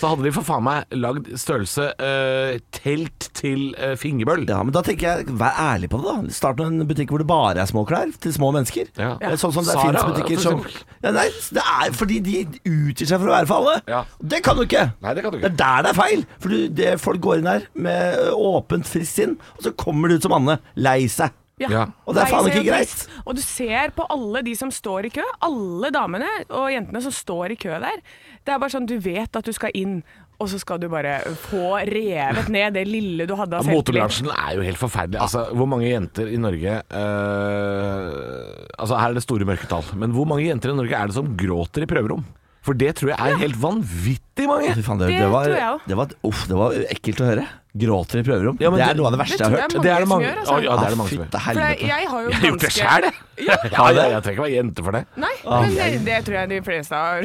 S4: så hadde de for faen meg lagd størrelse eh, telt til eh, fingerbøl.
S3: Ja, men da tenker jeg, Vær ærlig på det, da. Start med en butikk hvor det bare er små klær til små mennesker.
S4: Ja.
S3: Eh, Sånn som det
S4: Zara,
S3: finnes butikker
S4: for
S3: som
S4: eksempel.
S3: ja, nei, det er Fordi de utgir seg for å være for alle.
S4: Ja.
S3: Det kan du ikke!
S4: Nei, det kan du
S3: Det
S4: ikke.
S3: er der det er feil! For du, det, folk går inn her med ø, åpent, friskt sinn, og så kommer du ut som Anne, lei seg.
S4: Ja.
S3: Og det er
S5: Nei,
S3: faen ikke
S5: ser jo
S3: greit.
S5: trist. Og du ser på alle de som står i kø, alle damene og jentene som står i kø der. Det er bare sånn, du vet at du skal inn, og så skal du bare få revet ned det lille du hadde av selvtillit.
S4: Motebransjen er jo helt forferdelig. Altså, hvor mange jenter i Norge eh, Altså, her er det store mørketall, men hvor mange jenter i Norge er det som gråter i prøverom? For det tror jeg er helt vanvittig mange.
S3: Fy faen, det,
S5: Det
S3: det, var,
S5: tror jeg også.
S3: det, var, uff, det var ekkelt å høre. Gråter i prøverom.
S4: Ja, men
S3: det er
S4: det-
S3: noe av det verste jeg har hørt. Ah,
S5: Det tror jeg er mange som gjør, altså.
S4: Å, ja, det er det mange som gjør.
S3: Fytte
S5: For jeg,
S3: helvete.
S5: jeg har jo
S4: Jeg har gjort det
S5: ganske-
S4: sjæl, jeg. Ja,
S3: det.
S4: ja, jeg trenger ikke være jente for det.
S5: Nei,
S3: Å,
S5: men det,
S3: jeg-
S5: det tror jeg de fleste har,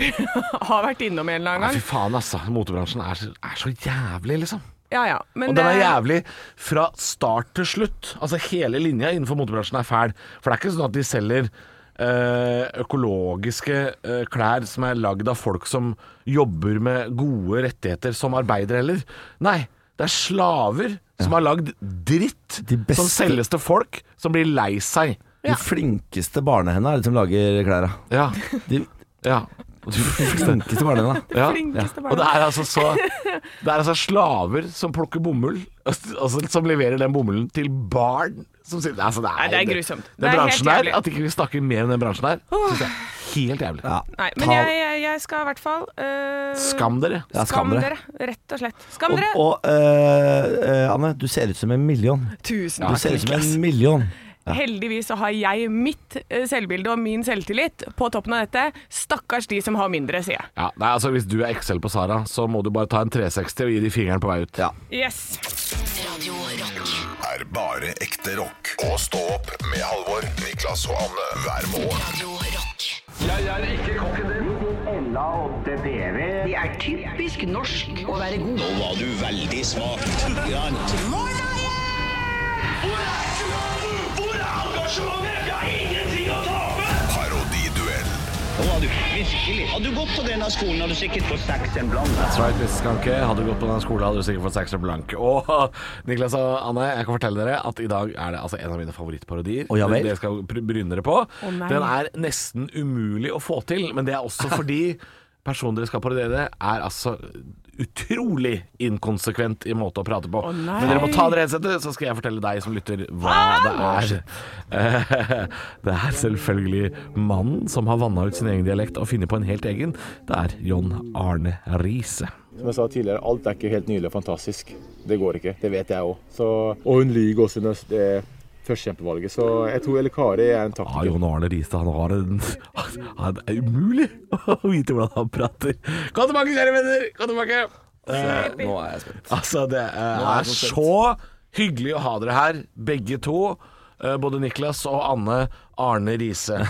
S5: har vært innom en eller
S4: Nei,
S5: annen
S4: fy
S5: gang.
S4: faen, altså. Motebransjen er, så- er så jævlig, liksom.
S5: Ja, ja. Men
S4: Og den er
S5: det-
S4: jævlig fra start til slutt. Altså Hele linja innenfor motebransjen er fæl. For det er ikke sånn at de selger eh, økologiske eh, klær som er lagd av folk som jobber med gode rettigheter som arbeidere heller. Nei, det er slaver som har lagd dritt
S3: De beste-
S4: som selges til folk som blir lei seg.
S3: De flinkeste barnehenda er de som lager klærne.
S4: Ja.
S3: De
S4: ja.
S3: flinkeste barnehenda.
S4: Ja.
S5: Flinkeste
S4: Og det er altså så Det er altså slaver som plukker bomull, altså, som leverer den bomullen til barn. Som sitter, altså, det, er,
S5: Nei, det er grusomt.
S4: Den
S5: Det er helt
S4: bransjen der,
S5: jævlig.
S4: at ikke vi snakker mer om den bransjen der, synes jeg er helt jævlig.
S3: Ja.
S5: Nei, men
S3: Ta-
S5: jeg, jeg, jeg skal i hvert fall øh,
S4: Skam dere.
S3: Ja,
S5: skam dere. Rett og slett. Skam
S3: Og,
S5: dere!
S3: og eh, eh, Anne, du ser ut som en million.
S5: Tusen
S3: Du
S5: takk.
S3: ser ut som en million.
S5: Heldigvis så har jeg mitt eh, selvbilde og min selvtillit på toppen av dette. Stakkars de som har mindre, sier jeg.
S4: Ja, nei, altså, hvis du er Excel på Sara, så må du bare ta en 360 og gi de fingeren på vei ut.
S3: Ja.
S5: Yes.
S1: Radio Rock.
S2: er bare ekte rock. Og stå opp med Halvor, Niklas og Anne hver morgen.
S1: Radio Rock.
S9: Det er typisk norsk å være god.
S10: Nå var du veldig smak.
S2: Parodiduell
S10: Nå var du virkelig. Hadde du gått på denne skolen, hadde du sikkert fått seks en blant.
S4: That's right, Mrs. Skanke. Hadde du gått på den skolen, hadde du sikkert fått sekser blank. Og Niklas og Anne, jeg kan fortelle dere at i dag er det altså en av mine favorittparodier.
S3: Å, ja vel.
S4: Dere skal bry- bryne dere på.
S5: nei.
S4: den er nesten umulig å få til, men det er også fordi personen dere skal parodiere, er altså utrolig inkonsekvent i måte å prate på.
S5: nei.
S4: men dere må ta dere headsetet, så skal jeg fortelle deg som lytter hva det er. Eh, Det er selvfølgelig mannen som har vanna ut sin egen dialekt og funnet på en helt egen. Det er John Arne Riise.
S11: Som jeg sa tidligere, alt er ikke helt nydelig og fantastisk. Det går ikke. Det vet jeg òg. Og hun lyver også under det førstekjempevalget, så jeg tror El Kari er en
S4: Ja,
S11: taktiker.
S4: Jon Ah, Arne Riise, han har en han, Det er umulig å vite hvordan han prater. Kom tilbake, kjære venner! Kom tilbake!
S3: Nå er jeg spent.
S4: Altså, det er,
S3: er
S4: er
S3: det så
S4: så hyggelig å ha dere her, begge to. Eh, Både Niklas og Anne Arne Riise.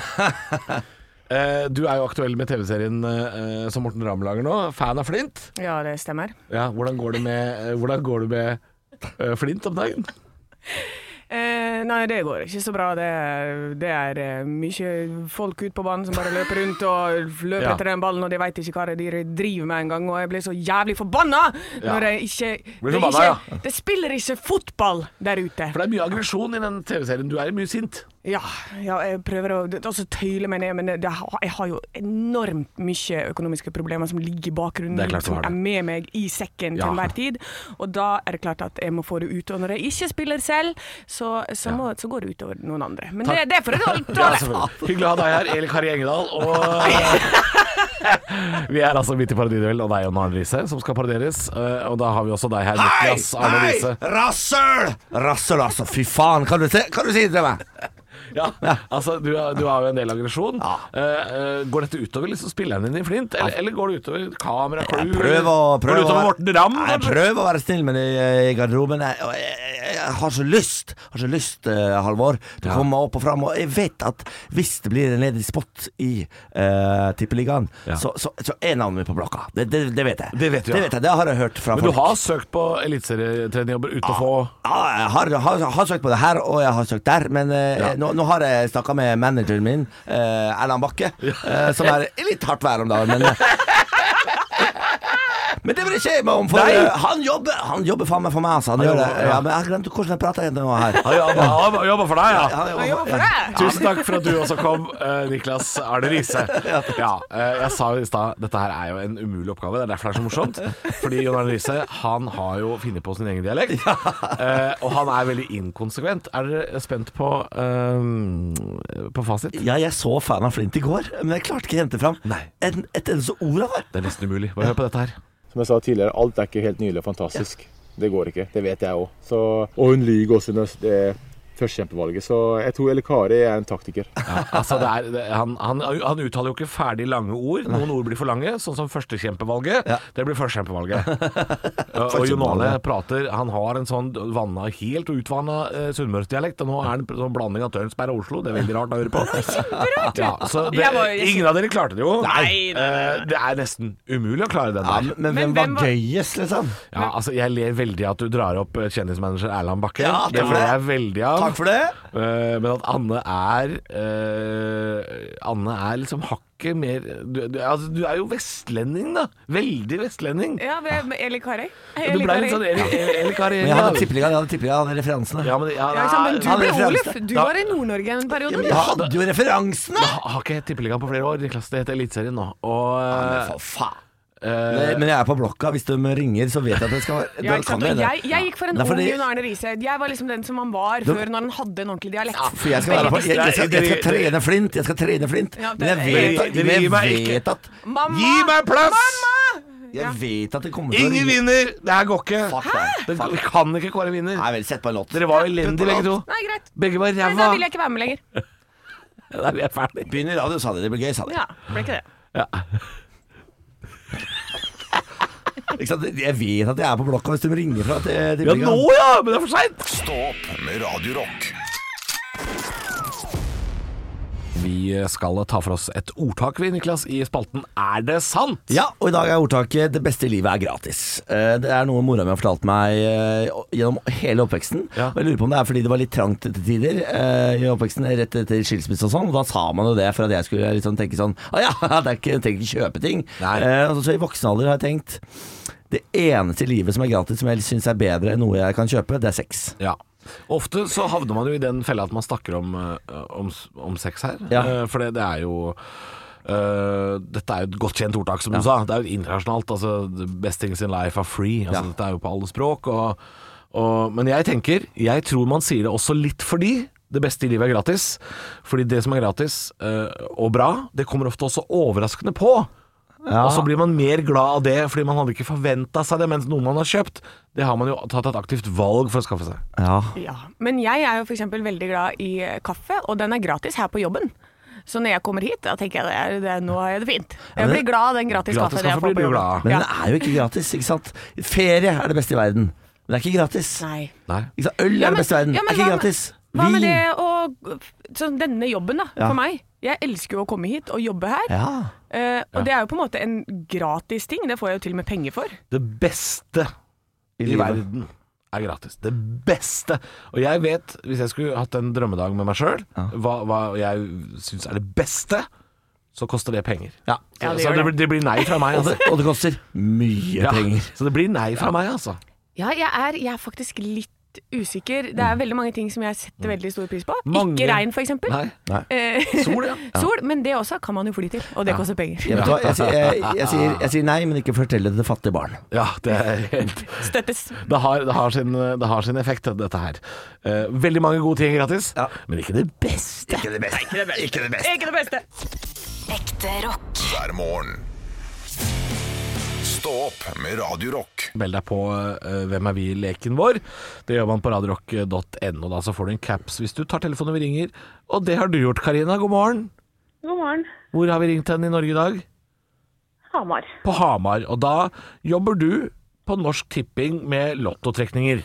S4: Eh, Du er jo aktuell med TV-serien eh, som Morten Ramm lager nå, 'Fan av Flint'.
S5: Ja, det stemmer.
S4: Ja, hvordan går det med, eh, hvordan går det med eh, Flint om dagen?
S5: Eh, nei, det går ikke så bra. Det er, det er eh, mye folk ute på banen som bare løper rundt og løper
S4: Ja.
S5: etter den ballen, og de veit ikke hva det er de driver med engang. Og jeg blir så jævlig forbanna
S4: Ja.
S5: når jeg ikke,
S4: Blir
S5: det,
S4: forbanna,
S5: ikke
S4: ja.
S5: det spiller ikke fotball der ute.
S4: For det er mye aggresjon i den TV-serien. Du er mye sint.
S5: Ja, ja, jeg prøver å det- altså, tøyle meg ned, men det, det, har- jeg har jo enormt mye økonomiske problemer som ligger i bakgrunnen,
S4: Det er klart du
S5: som
S4: har
S5: er
S4: det.
S5: med meg i sekken
S4: Ja.
S5: til enhver tid. Og da er det klart at jeg må få det ut. Og når jeg ikke spiller selv, så, så, må, så går det utover noen andre. Men det, det er for det dårlige
S4: Ja,
S5: tåle!
S4: selvfølgelig. Hyggelig å ha deg her, Eli Kari Engedal. Og vi er altså midt i parodiduell, og deg og Arne Riise som skal parodieres. eh, Og da har vi også deg her,
S3: Hei!
S4: Niklas Arne
S3: Hei!
S4: Riise.
S3: Rassøl! Rassøl, altså. Fy faen. Kan du, se, kan du si det til meg?
S4: Ja, altså, du, har- du har jo en del aggresjon.
S3: Ja.
S4: Eh, eh, Går dette utover liksom spilleren din i Flint, eller, eller går det utover kamera, crew?
S3: Prøv å
S4: Går
S3: prøv
S4: det
S3: å
S4: utover
S3: være-
S4: Morten Ramm?
S3: Nei,
S4: kanskje?
S3: prøv å være snill med de eh, i garderoben. Jeg, og jeg, jeg, jeg har så lyst, har så lyst, eh, Halvor, til å komme meg opp og fram. Og jeg vet at hvis det blir en ledig spot i eh, Tippeligaen, så, så, så er navnet mitt på blokka. Det, det, det vet jeg.
S4: Det vet du, ja.
S3: jeg. Det har jeg hørt fra
S4: Men du
S3: folk.
S4: har søkt på eliteserietrenerjobber uten å få
S3: Ja, jeg har, har, har søkt på det her, og jeg har søkt der, men eh, nå, nå har jeg snakka med manageren min, eh, Erland Bakke, eh, som er i litt hardt vær om dagen, men eh, Men det vil jeg ikke meg om, for
S12: Nei.
S3: eh, han jobber Han jobber faen meg for meg, altså. Han gjør det.
S12: jobber, ja.
S3: Ja, men jeg glemte hvordan jeg prata igjen nå her.
S4: Han jobber, han jobber for deg, ja.
S3: Han jobber for-
S4: Tusen takk for at du også kom, eh, Niklas Arne Riise. Ja, eh, jeg sa jo i stad dette her er jo en umulig oppgave. Det er derfor det er så morsomt. Fordi Jon Arne Riise han har jo funnet på sin egen dialekt. Eh, og han er veldig inkonsekvent. Er dere spent på, eh, på fasit?
S3: Ja, jeg så fan av Flint i går, men jeg klarte ikke å hente fram en, et eneste ord av det.
S4: Det er nesten umulig. Bare hør på dette her.
S11: Som jeg sa tidligere, alt er ikke helt nydelig og fantastisk. Det går ikke. Det vet jeg òg. Og hun lyver også under det førstekjempevalget, så jeg tror El Kari er en taktiker.
S4: Altså, det er, det, han, han, han uttaler jo ikke ferdig lange ord. Noen ord blir for lange, sånn som førstekjempevalget. Det blir førstekjempevalget. og og Jon Arne prater Han har en sånn vanna, helt utvanna eh, sunnmørsdialekt. Og nå er han en sånn blanding av Tønsberg og Oslo. Det er veldig rart å høre på. ja, så det,
S5: Jeg var- jeg-
S4: ingen av dere klarte det jo.
S5: Nei, nei,
S4: Eh, det er nesten umulig å klare den
S3: Ja,
S4: der.
S3: men, men hvem
S5: hvem
S3: var
S5: var-
S3: gøyest, liksom?
S4: Ja, altså, jeg ler veldig av at du drar opp eh, kjendismanager Erland Bakke.
S3: Ja,
S4: det
S3: takk for
S4: ler jeg
S3: det.
S4: veldig av.
S3: Takk for det.
S4: Eh, men at Anne er eh, Anne er liksom hakket mer du, du, altså, du er jo vestlending, da. Veldig vestlending.
S5: Ja, ved Eli Karøy.
S4: Du ble litt sånn Eli- Eli Eli Kari
S3: Men jeg hadde tippeligaen, jeg hadde tippeligaen, jeg hadde referansene.
S4: Ja, men, ja,
S5: Ja, ikke sant, men
S4: nei,
S5: du
S3: Han
S5: ble
S3: er fremst.
S5: Oluf. Du
S4: Da-
S5: var i Nord-Norge en periode.
S3: Jeg
S5: du.
S3: hadde jo referansene!
S4: jeg har ikke hett tippeligaen på flere år. Niklas, det heter Eliteserien nå. Og,
S3: Men
S4: eh,
S3: for faen.
S4: eh,
S3: Men men jeg er på blokka. Hvis de ringer, så vet jeg at det skal være
S5: Ja,
S3: det
S5: ikke sant?
S3: kan
S5: Og
S3: hende.
S5: jeg, jeg gikk for en
S3: Nei,
S5: ung
S3: fordi-
S5: Jon Arne Riise. Jeg var liksom den som han var før, når han hadde en ordentlig dialekt.
S3: For jeg skal, være, på- jeg, jeg, skal, jeg skal trene flint, jeg skal trene flint.
S5: Ja, det-
S3: Men jeg vet at,
S4: Dere
S3: men
S4: gir meg
S3: jeg
S4: ikke-
S3: vet at,
S5: Mamma!
S4: Gi meg plass!
S3: jeg vet at det kommer til å
S4: Ingen
S3: ringe.
S4: vinner! Det her går ikke.
S3: Fuck deg.
S4: Det,
S3: Fuck.
S4: vi kan ikke kåre en vinner.
S3: Nei vel, sett på en låt.
S4: Dere var jo elendige begge to.
S5: Nei, greit.
S4: Begge var
S5: Nei, da
S4: ræva.
S5: vil jeg ikke være med lenger.
S4: Nei, vi er ferdig.
S3: Begynn i radio, sa de. Det blir gøy, sa de.
S5: Ja, ble ikke det.
S3: Ikke sant? Jeg vet at jeg er på blokka hvis de ringer fra til, til
S4: Ja,
S3: Brygga.
S4: nå ja! Men det er for seint.
S2: Stå opp med Radio Rock.
S4: Vi skal ta for oss et ordtak, vi, Niklas, i spalten Er det sant?
S3: Ja, og i dag er ordtaket 'det beste i livet er gratis'. Eh, Det er noe mora mi har fortalt meg eh, gjennom hele oppveksten.
S4: Ja.
S3: Og jeg lurer på om det er fordi det var litt trangt til tider eh, i oppveksten, rett etter skilsmisse og sånn. Og da sa man jo det for at jeg skulle liksom tenke sånn 'Å ja, det er ikke, jeg trenger ikke kjøpe ting'.
S4: Nei.
S3: Eh, og så, så i voksen alder har jeg tenkt det eneste i livet som er gratis, som jeg syns er bedre enn noe jeg kan kjøpe, det er sex.
S4: Ja. Ofte så havner man jo i den fella at man snakker om, eh, om, om sex her.
S3: Ja.
S4: Eh, For det, det er jo eh, dette er jo et godt kjent ordtak, som du sa. Det er jo internasjonalt. Altså, the best things in life are free. Altså,
S3: Ja.
S4: Dette er jo på alle språk. Og, og, men jeg tenker Jeg tror man sier det også litt fordi det beste i livet er gratis. Fordi det som er gratis eh, og bra, det kommer ofte også overraskende på. Og så blir man mer glad av det, fordi man hadde ikke forventa seg det. Mens noe man har kjøpt, det har man jo tatt et aktivt valg for å skaffe seg.
S3: Ja.
S5: Ja. Men jeg er jo f.eks. veldig glad i eh, kaffe, og den er gratis her på jobben. Så når jeg kommer hit, da tenker jeg det er, det er, nå har jeg det fint. Jeg blir glad av den gratis,
S4: gratis
S5: kaffen jeg
S4: kaffe
S5: får
S4: blir
S5: på
S4: du
S5: jobben.
S4: glad av.
S3: Men
S5: Ja.
S3: den er jo ikke gratis, ikke sant? Ferie er det beste i verden, men det er ikke gratis.
S5: Nei.
S4: Nei.
S3: Ikke sant? Øl er
S5: Ja, men-
S3: det beste i verden,
S5: ja,
S3: det
S5: men
S3: er ikke
S5: hva med-
S3: gratis.
S5: Hva med
S3: Vin.
S5: det å Sånn denne jobben, da,
S3: Ja.
S5: for meg. Jeg elsker jo å komme hit og jobbe her.
S3: Ja.
S5: eh, og det er jo på en måte en gratis ting. Det får jeg jo til og med penger for.
S4: Det beste i,
S3: livet.
S4: verden er gratis. Det beste. Og jeg vet, hvis jeg skulle hatt en drømmedag med meg sjøl, hva, hva jeg syns er det beste, så koster det penger.
S5: Ja, det
S4: så
S5: gjør
S4: det,
S5: det.
S4: blir- det blir nei fra meg,
S3: Og det,
S4: altså.
S3: og det koster mye
S4: Ja,
S3: penger.
S4: så det blir nei fra meg, altså.
S5: Ja, jeg er, jeg er faktisk litt usikker. Det er veldig mange ting som jeg setter veldig stor pris på.
S4: Mm. Mange-
S5: Ikke regn, for eksempel.
S4: Nei.
S5: Eh,
S4: Sol, ja.
S5: Sol, men det også kan man jo fly til, og det koster penger.
S3: Jeg, vet, hva, jeg, sier- jeg, jeg, sier, jeg sier nei, men ikke fortell det til fattige barn.
S4: Ja, det er helt
S5: Støttes.
S4: det har, det, har sin, det har sin effekt, dette her. Eh, veldig mange gode ting gratis,
S3: Ja.
S4: men ikke det beste.
S3: Ikke det beste. Ikke det beste.
S5: Ikke det beste.
S1: Ekte rock.
S2: hver morgen. Stå opp med Radio Rock.
S4: Meld deg på eh, Hvem er vi-leken vår. Det gjør man på radiorock.no. Da så får du en caps hvis du tar telefonen og vi ringer. Og det har du gjort, Karina. God morgen.
S13: God morgen.
S4: Hvor har vi ringt henne i Norge i dag?
S13: Hamar.
S4: På Hamar. Og da jobber du på Norsk Tipping med lottotrekninger.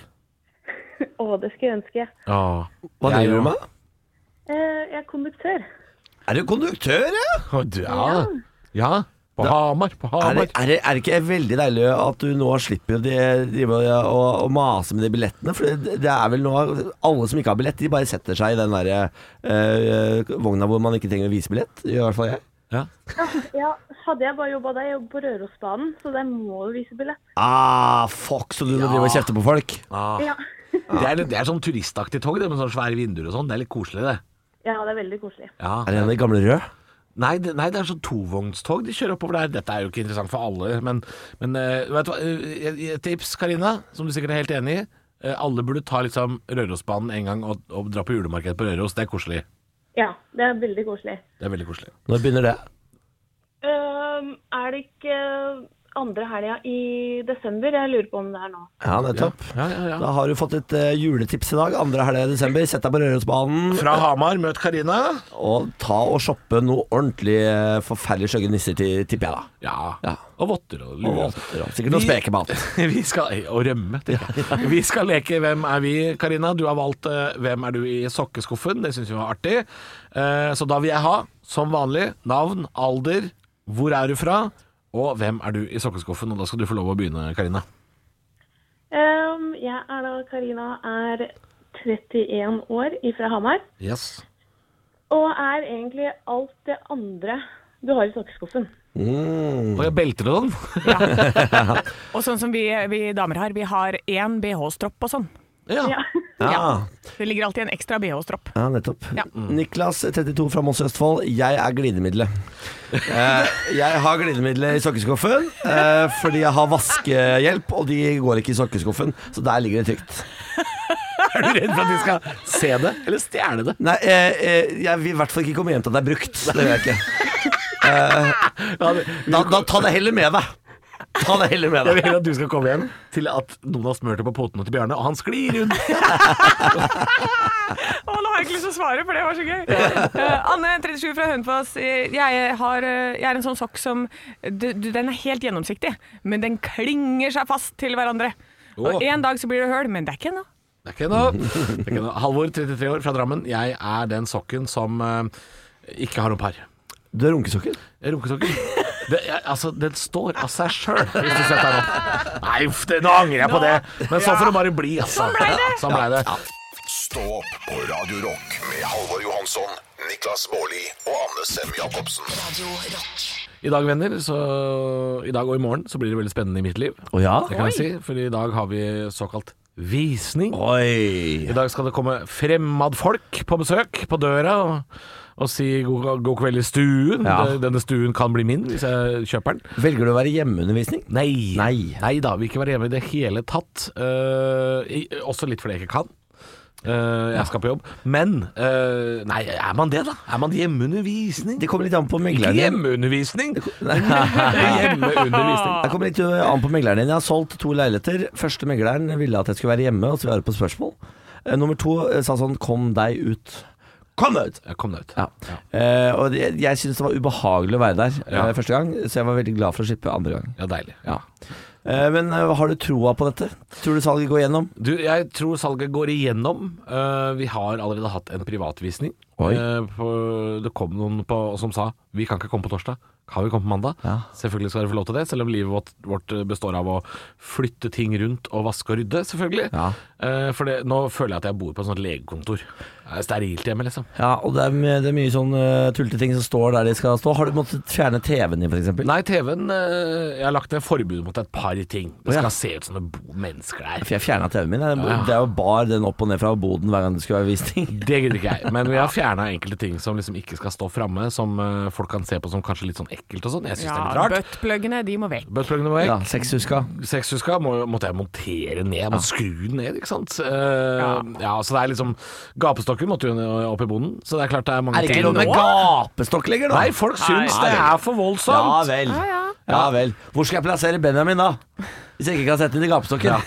S13: Å Å, det skulle jeg ønske.
S3: Hva
S4: Jeg
S3: driver
S4: òg.
S3: du med?
S13: Eh, jeg er konduktør.
S3: Er du konduktør, ja?
S4: Ja. ja. På Hamar. På
S3: Er
S4: Hamar.
S3: det, er, det, er det ikke veldig deilig at du nå slipper å dri- drive og- og- og mase med de billettene? For det, det er vel nå Alle som ikke har billett, de bare setter seg i den derre eh, vogna hvor man ikke trenger å vise billett. I hvert fall jeg.
S13: Ja, hadde jeg bare jobba der, jeg jobber på Rørosbanen, så der må du vise billett.
S3: Ah, fuck, så du må drive og kjefte på folk?
S13: Ja.
S4: Ah. Det er, litt- det er sånn turistaktig tog, det med sånne svære vinduer og sånn. Det er litt koselig, det.
S13: ja, det er veldig koselig.
S4: Ja.
S3: Er det en av de gamle røde?
S4: Nei, det, nei, det er sånn tovognstog de kjører oppover der. Dette er jo ikke interessant for alle, men, men eh, vet du hva? eh, et- Et tips, Karina, som du sikkert er helt enig i. Eh, Alle burde ta liksom Rørosbanen en gang og, og dra på julemarkedet på Røros. Det er koselig.
S13: Ja, det er veldig koselig.
S4: Det er veldig koselig.
S3: Når begynner det?
S13: Ehm, er det ikke andre helga i desember? Jeg lurer på om det er nå.
S3: Ja, nettopp. Da har du fått et eh, juletips i dag. Andre helg i desember. Sett deg på Rørosbanen.
S4: Fra Hamar, møt Karina.
S3: Og ta og shoppe noe ordentlig eh, forferdelig skjøgge nisser, til- tipper jeg, da.
S4: Ja. Og votter og
S3: Og
S4: luer.
S3: votter og sikkert noe
S4: Vi-
S3: spekemat.
S4: Vi skal, og rømme, tenker jeg. Vi skal leke Hvem er vi, Karina? Du har valgt eh, Hvem er du i sokkeskuffen. Det syns vi var artig. Eh, Så da vil jeg ha, som vanlig, navn, alder, hvor er du fra, og hvem er du i sokkeskuffen. Og da skal du få lov å begynne, Karina.
S13: Ehm, jeg er da Karina, er 31 år ifra Hamar.
S4: Yes.
S13: Og er egentlig alt det andre du har i sokkeskuffen.
S4: Og sånn. jeg belter den.
S5: Og sånn som vi, vi damer har, vi har én BH-stropp og sånn.
S4: Ja.
S3: Ja.
S5: Det ligger alltid en ekstra BH-stropp.
S3: Ja, nettopp. Mm. Niklas, 32 fra Moss i Østfold. Jeg er glidemiddelet. Eh, jeg har glidemiddelet i sokkeskuffen eh, fordi jeg har vaskehjelp, og de går ikke i sokkeskuffen, så der ligger det trygt.
S4: Er du redd for at de skal se det, eller stjele det?
S3: Nei, eh, eh, jeg vil i hvert fall ikke komme hjem til at det er brukt. Det vil jeg ikke. Eh, da, da ta det heller med deg. Ta det heller med
S4: Jeg vil
S3: deg.
S4: heller at du skal komme hjem til at noen har smurt det på potene til Bjarne, og han sklir rundt.
S5: Å, nå har jeg ikke lyst til å svare, for det var så gøy. Eh, Anne, 37 fra Hønefoss. Eh, Jeg, har, eh, jeg er en sånn sokk som du, du, Den er helt gjennomsiktig, men den klinger seg fast til hverandre.
S4: Å.
S5: Og en dag så blir det høl, men det er ikke ennå.
S4: Det er ikke noe. Det er ikke noe. Halvor, 33 år, fra Drammen. Jeg er den sokken som eh, ikke har noe par.
S3: Du har runkesokker?
S4: Runkesokken. Det, jeg, altså, den står av seg sjøl, hvis du setter den opp. Nei, uff, det, nå angrer jeg på det. Men sånn får det bare bli, altså.
S5: Sånn ble det.
S4: Sånn ble det.
S2: Stå opp på Radio Rock med Halvor Johansson, Niklas Baarli og Anne Sem Jacobsen.
S1: Radio Rock.
S4: I dag, venner, så I dag og i morgen så blir det veldig spennende i mitt liv.
S3: Å ja?
S4: Det kan jeg si, for i dag har vi såkalt visning.
S3: Oi.
S4: I dag skal det komme fremmedfolk på besøk på døra og, og si god, god kveld i stuen.
S3: Ja.
S4: Det- Denne stuen kan bli min hvis jeg kjøper den.
S3: Velger du å være hjemmeundervisning?
S4: Nei.
S3: Nei.
S4: da, vil ikke være hjemme i det hele tatt. Eh, i, også litt fordi jeg ikke kan. Eh, jeg skal på jobb. Men eh, Nei, er man det, da? Er man hjemmeundervisning?
S3: Det kommer litt an på
S4: Ikke
S3: megleren din.
S4: hjemmeundervisning! Hjemmeundervisning.
S3: Det kommer litt eh, an på megleren din. Jeg har solgt to leiligheter. Første megleren ville at jeg skulle være hjemme og svare på spørsmål. Eh, Nummer to eh, sa sånn 'kom deg ut'. Kom deg ut!
S4: Ja, kom deg ut.
S3: Ja. Eh, og det, jeg syntes det var ubehagelig å være der
S4: Ja.
S3: eh, første gang, så jeg var veldig glad for å slippe andre gang.
S4: Ja, deilig.
S3: Ja. Eh, men eh, har du troa på dette? Tror du salget går gjennom?
S4: Du, jeg tror salget går igjennom. Eh, vi har allerede hatt en privatvisning.
S3: Oi.
S4: Eh, på, det kom noen på, som sa vi kan ikke komme på torsdag, kan vi komme på mandag?
S3: Ja.
S4: Selvfølgelig skal dere få lov til det, selv om livet vårt, vårt består av å flytte ting rundt og vaske og rydde, selvfølgelig.
S3: Ja.
S4: Eh, for det, nå føler jeg at jeg bor på et sånt legekontor. Det er sterilt hjemme, liksom.
S3: Ja, og det er, my- det er mye sånn eh, tulleting som står der de skal stå. Har du måttet fjerne TV-en din, f.eks.?
S4: Nei, TV-en eh, Jeg har lagt ned forbud mot et par ting. Det
S3: Å,
S4: skal
S3: ja.
S4: se ut som det bor mennesker der.
S3: For jeg fjerna TV-en min. Jeg-
S4: Ja.
S3: Det er jo bar den opp og ned fra boden hver gang det skulle være visning.
S4: Det gidder ikke jeg. Men vi har fjerna enkelte ting som liksom ikke skal stå framme, som eh, folk kan se på som kanskje litt sånn ekkelt og sånn. Jeg syns det er litt
S5: Ja,
S4: rart.
S5: Buttpluggene, de må vekk.
S4: Buttpluggene må
S3: Ja,
S4: vekk.
S3: Sekshuska.
S4: Sexhuska må, måtte jeg montere ned. Jeg måtte skru den ned, ikke sant. Eh, ja. Så det er liksom Gapestokken måtte jo ned- opp i bonden. Så det er klart det er mange
S3: Er det ikke
S4: ting.
S3: lov med
S4: Nå?
S3: gapestokk lenger, da?
S4: Nei, folk syns
S3: Nei.
S4: det er for voldsomt.
S3: Ja vel. Ja vel. Hvor skal jeg plassere Benjamin, da? Hvis jeg ikke kan sette den i gapestokken.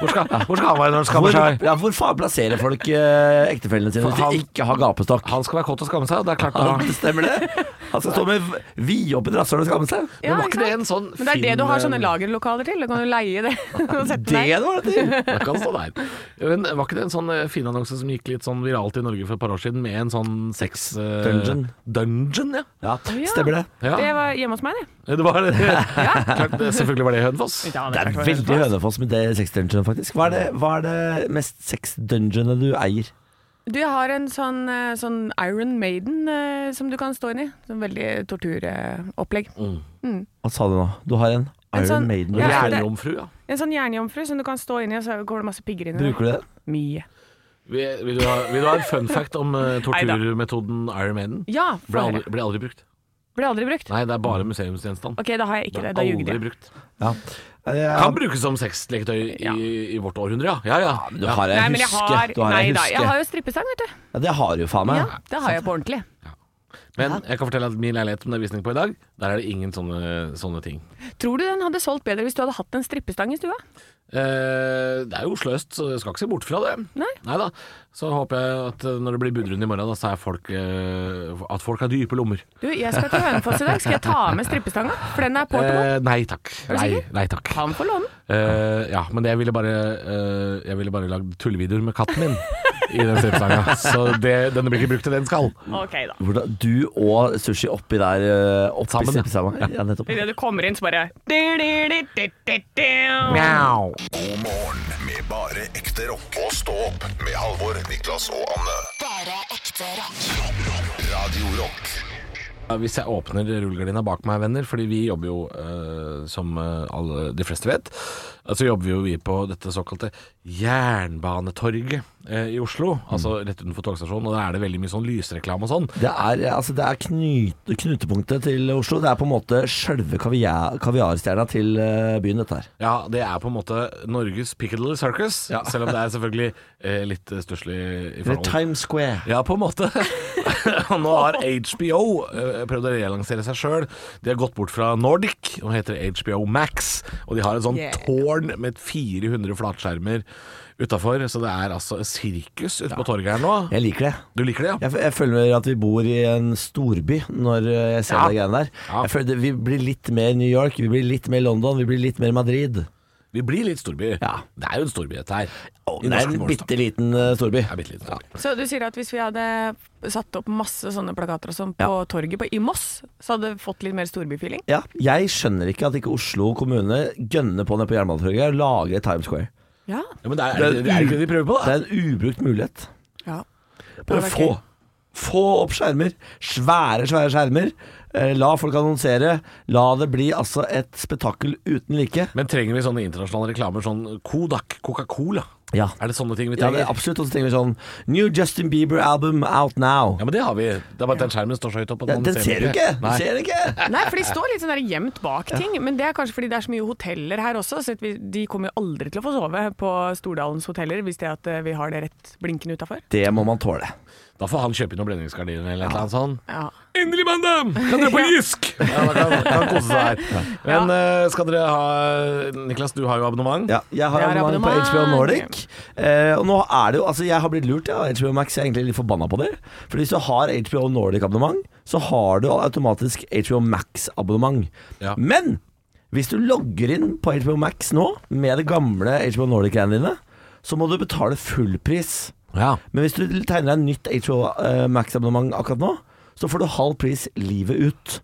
S4: hvor, skal, han være når han skammer seg?
S3: Ja, hvor faen plasserer folk eh, ektefellene sine hvis
S4: For
S3: de
S4: han-
S3: ikke har gapestokk?
S4: Han skal være kåt og skamme seg, og det er klart
S3: Ja,
S4: da-
S3: det stemmer det. Han skal stå med v- vidåpent rasshøl og skamme seg.
S5: Ja,
S4: Men var ikke det
S5: sant?
S4: en sånn
S5: Men det er det du har
S4: fin,
S5: sånne lagerlokaler til. Da kan du leie det. og sette
S3: Det
S5: deg.
S3: var det til!
S4: Det kan stå der. sånn Men var ikke det en sånn eh, fin annonse som gikk litt sånn viralt i Norge for et par år siden, med en sånn sex... eh,
S3: Dungeon.
S4: Dungeon, ja.
S3: Ja,
S5: Å, ja.
S3: stemmer det.
S5: Det
S4: ja.
S5: var hjemme hos meg, det.
S4: Det var det. Klart, det- selvfølgelig var det i Hønefoss.
S5: Ja,
S3: Det er veldig Hønefoss med det sexdungeonet, faktisk. Hva er det, hva er det mest sexdungeonet du eier?
S5: Du har en sånn, eh, sånn Iron Maiden eh, som du kan stå inni. Sånn veldig torturopplegg.
S3: Hva sa du nå? Du har en
S5: En
S3: Iron
S5: sånn-
S3: Maiden.
S5: Ja, det-
S4: Jernjomfru, ja.
S5: En sånn jernjomfru som du kan stå inni, og så går det masse pigger inn i den.
S3: Bruker du det?
S5: Mye.
S4: Vil, vil, du ha, vil du ha en fun fact om eh, torturmetoden Iron Maiden?
S5: Ja,
S4: Ble
S5: få
S4: aldri,
S5: høre.
S4: ble aldri brukt.
S5: Ble aldri brukt.
S4: Nei, det er bare museumsgjenstand.
S5: Ok, da har jeg ikke det. Da
S4: Aldri
S5: ljuger jeg.
S4: brukt.
S3: Ja. Eh,
S4: Kan brukes som sexleketøy i,
S5: Ja.
S4: i vårt århundre, ja. Ja, ja.
S3: Du har
S5: Nei,
S3: ei
S5: men jeg
S3: huske.
S5: har,
S3: Du har ei
S5: nei da, jeg
S3: huske.
S5: har jo strippestang, vet du.
S3: Ja, det har du jo faen meg.
S5: Ja, det har jeg på ordentlig.
S4: Men jeg kan fortelle at min leilighet som det er visning på i dag, der er det ingen sånne, sånne ting.
S5: Tror du den hadde solgt bedre hvis du hadde hatt en strippestang i stua?
S4: Eh, det er jo Oslo øst, så jeg skal ikke se bort fra det.
S5: Nei.
S4: da. Så håper jeg at eh, når det blir budrunde i morgen, da, så er folk eh, at folk har dype lommer.
S5: Du, jeg skal til Hønefoss i dag. Skal jeg ta med strippestanga? For den er portable.
S4: Eh, nei takk.
S5: Er du
S4: Nei,
S5: sikker?
S4: nei takk.
S5: Han får låne den.
S4: Eh, ja, men det jeg ville bare eh, Jeg ville bare lagd tullevideoer med katten min i den stripesanga. Så det, denne blir ikke brukt til det den skal.
S5: Ok, da.
S3: Hvordan, du og sushi oppi der eh, oppi
S4: Sammen, ja.
S3: sammen. sammen. Ja, nettopp.
S5: Idet du kommer inn, så bare
S4: Mjau.
S2: God morgen med bare ekte rock. Og stå opp med Halvor, Niklas og Anne.
S1: Bare ekte rock.
S2: Radio Rock.
S4: Ja, Hvis jeg åpner rullegardina bak meg, venner, fordi vi jobber jo, eh, som eh, alle, de fleste vet, eh, så jobber jo vi på dette såkalte Jernbanetorget eh, i Oslo. Altså rett utenfor togstasjonen, og der er det veldig mye sånn lysreklame og sånn.
S3: Det er, altså, det er knut, knutepunktet til Oslo. Det er på en måte sjølve kaviar, kaviarstjerna til eh, byen, dette her.
S4: Ja, det er på en måte Norges Piccadilly Circus,
S3: Ja.
S4: selv om det er selvfølgelig eh, litt stusslig i
S3: Eller
S4: forhold
S3: Times Square.
S4: Ja, på en måte. Og nå har HBO eh, prøvd å relansere seg sjøl. De har gått bort fra Nordic og heter HBO Max. Og de har et sånt
S5: Yeah.
S4: tårn med 400 flatskjermer utafor, så det er altså sirkus ute på torget her nå.
S3: Jeg liker det.
S4: Du liker det, ja?
S3: Jeg, jeg føler at vi bor i en storby når eh, jeg ser
S4: Ja.
S3: de greiene der.
S4: Ja.
S3: Jeg føler det, Vi blir litt mer New York, vi blir litt mer London, vi blir litt mer Madrid.
S4: Vi blir litt storby.
S3: Ja.
S4: Det er jo en storby, dette her.
S3: Å, det er en bitte liten eh, storby.
S4: bitte liten storby.
S5: Så du sier at hvis vi hadde satt opp masse sånne plakater og sånn på torget på, i Moss, så hadde vi fått litt mer storbyfeeling?
S3: Ja, jeg skjønner ikke at ikke Oslo kommune gønner på nede på Jernbanetorget og lager Times Square.
S5: Ja.
S4: Ja, men det er, det er jo ikke det de prøver på,
S3: Det
S4: da.
S3: er en ubrukt mulighet.
S5: ja.
S3: Bare
S5: Det hadde vært
S3: få,
S5: gøy.
S3: få opp skjermer. Svære, svære skjermer. Eh, La folk annonsere. La det bli altså et spetakkel uten like.
S4: Men trenger vi sånne internasjonale reklamer, sånn Kodak, Coca-Cola?
S3: Ja.
S4: Er det sånne ting vi
S3: Ja,
S4: trenger?
S3: det er absolutt. Og så tenker vi sånn New Justin Bieber album out now.
S4: Ja, men det har vi. Det er bare at den skjermen står så høyt opp at
S3: Ja,
S4: man
S3: den ser du ikke! Du
S4: Nei.
S3: ser den ikke!
S5: Nei, for de står litt sånn der gjemt bak ting, men det er kanskje fordi det er så mye hoteller her også, så at vi, de kommer jo aldri til å få sove på Stordalens hoteller hvis det er at eh, vi har det rett blinkende utafor.
S3: Det må man tåle.
S4: Da får han kjøpe inn noen blendingsgardiner eller et eller annet sånn. sånt.
S5: Ja.
S4: Endelig mandag! Kan dere på Jysk? Ja, da kan, kan kose seg her. Men eh, skal dere ha Niklas, du har jo abonnement.
S3: Ja, jeg har
S5: Jeg har
S3: abonnement på
S5: abonnement.
S3: HBO Nordic. Eh, og nå er det jo Altså, jeg har blitt lurt, ja. HBO Max jeg er egentlig litt forbanna på det. For hvis du har HBO Nordic-abonnement, så har du automatisk HBO Max-abonnement.
S4: Ja.
S3: Men hvis du logger inn på HBO Max nå med det gamle HBO Nordic-greiene dine, så må du betale full pris.
S4: Ja.
S3: Men hvis du tegner deg en nytt HBO eh, Max-abonnement akkurat nå, så får du halv pris livet ut.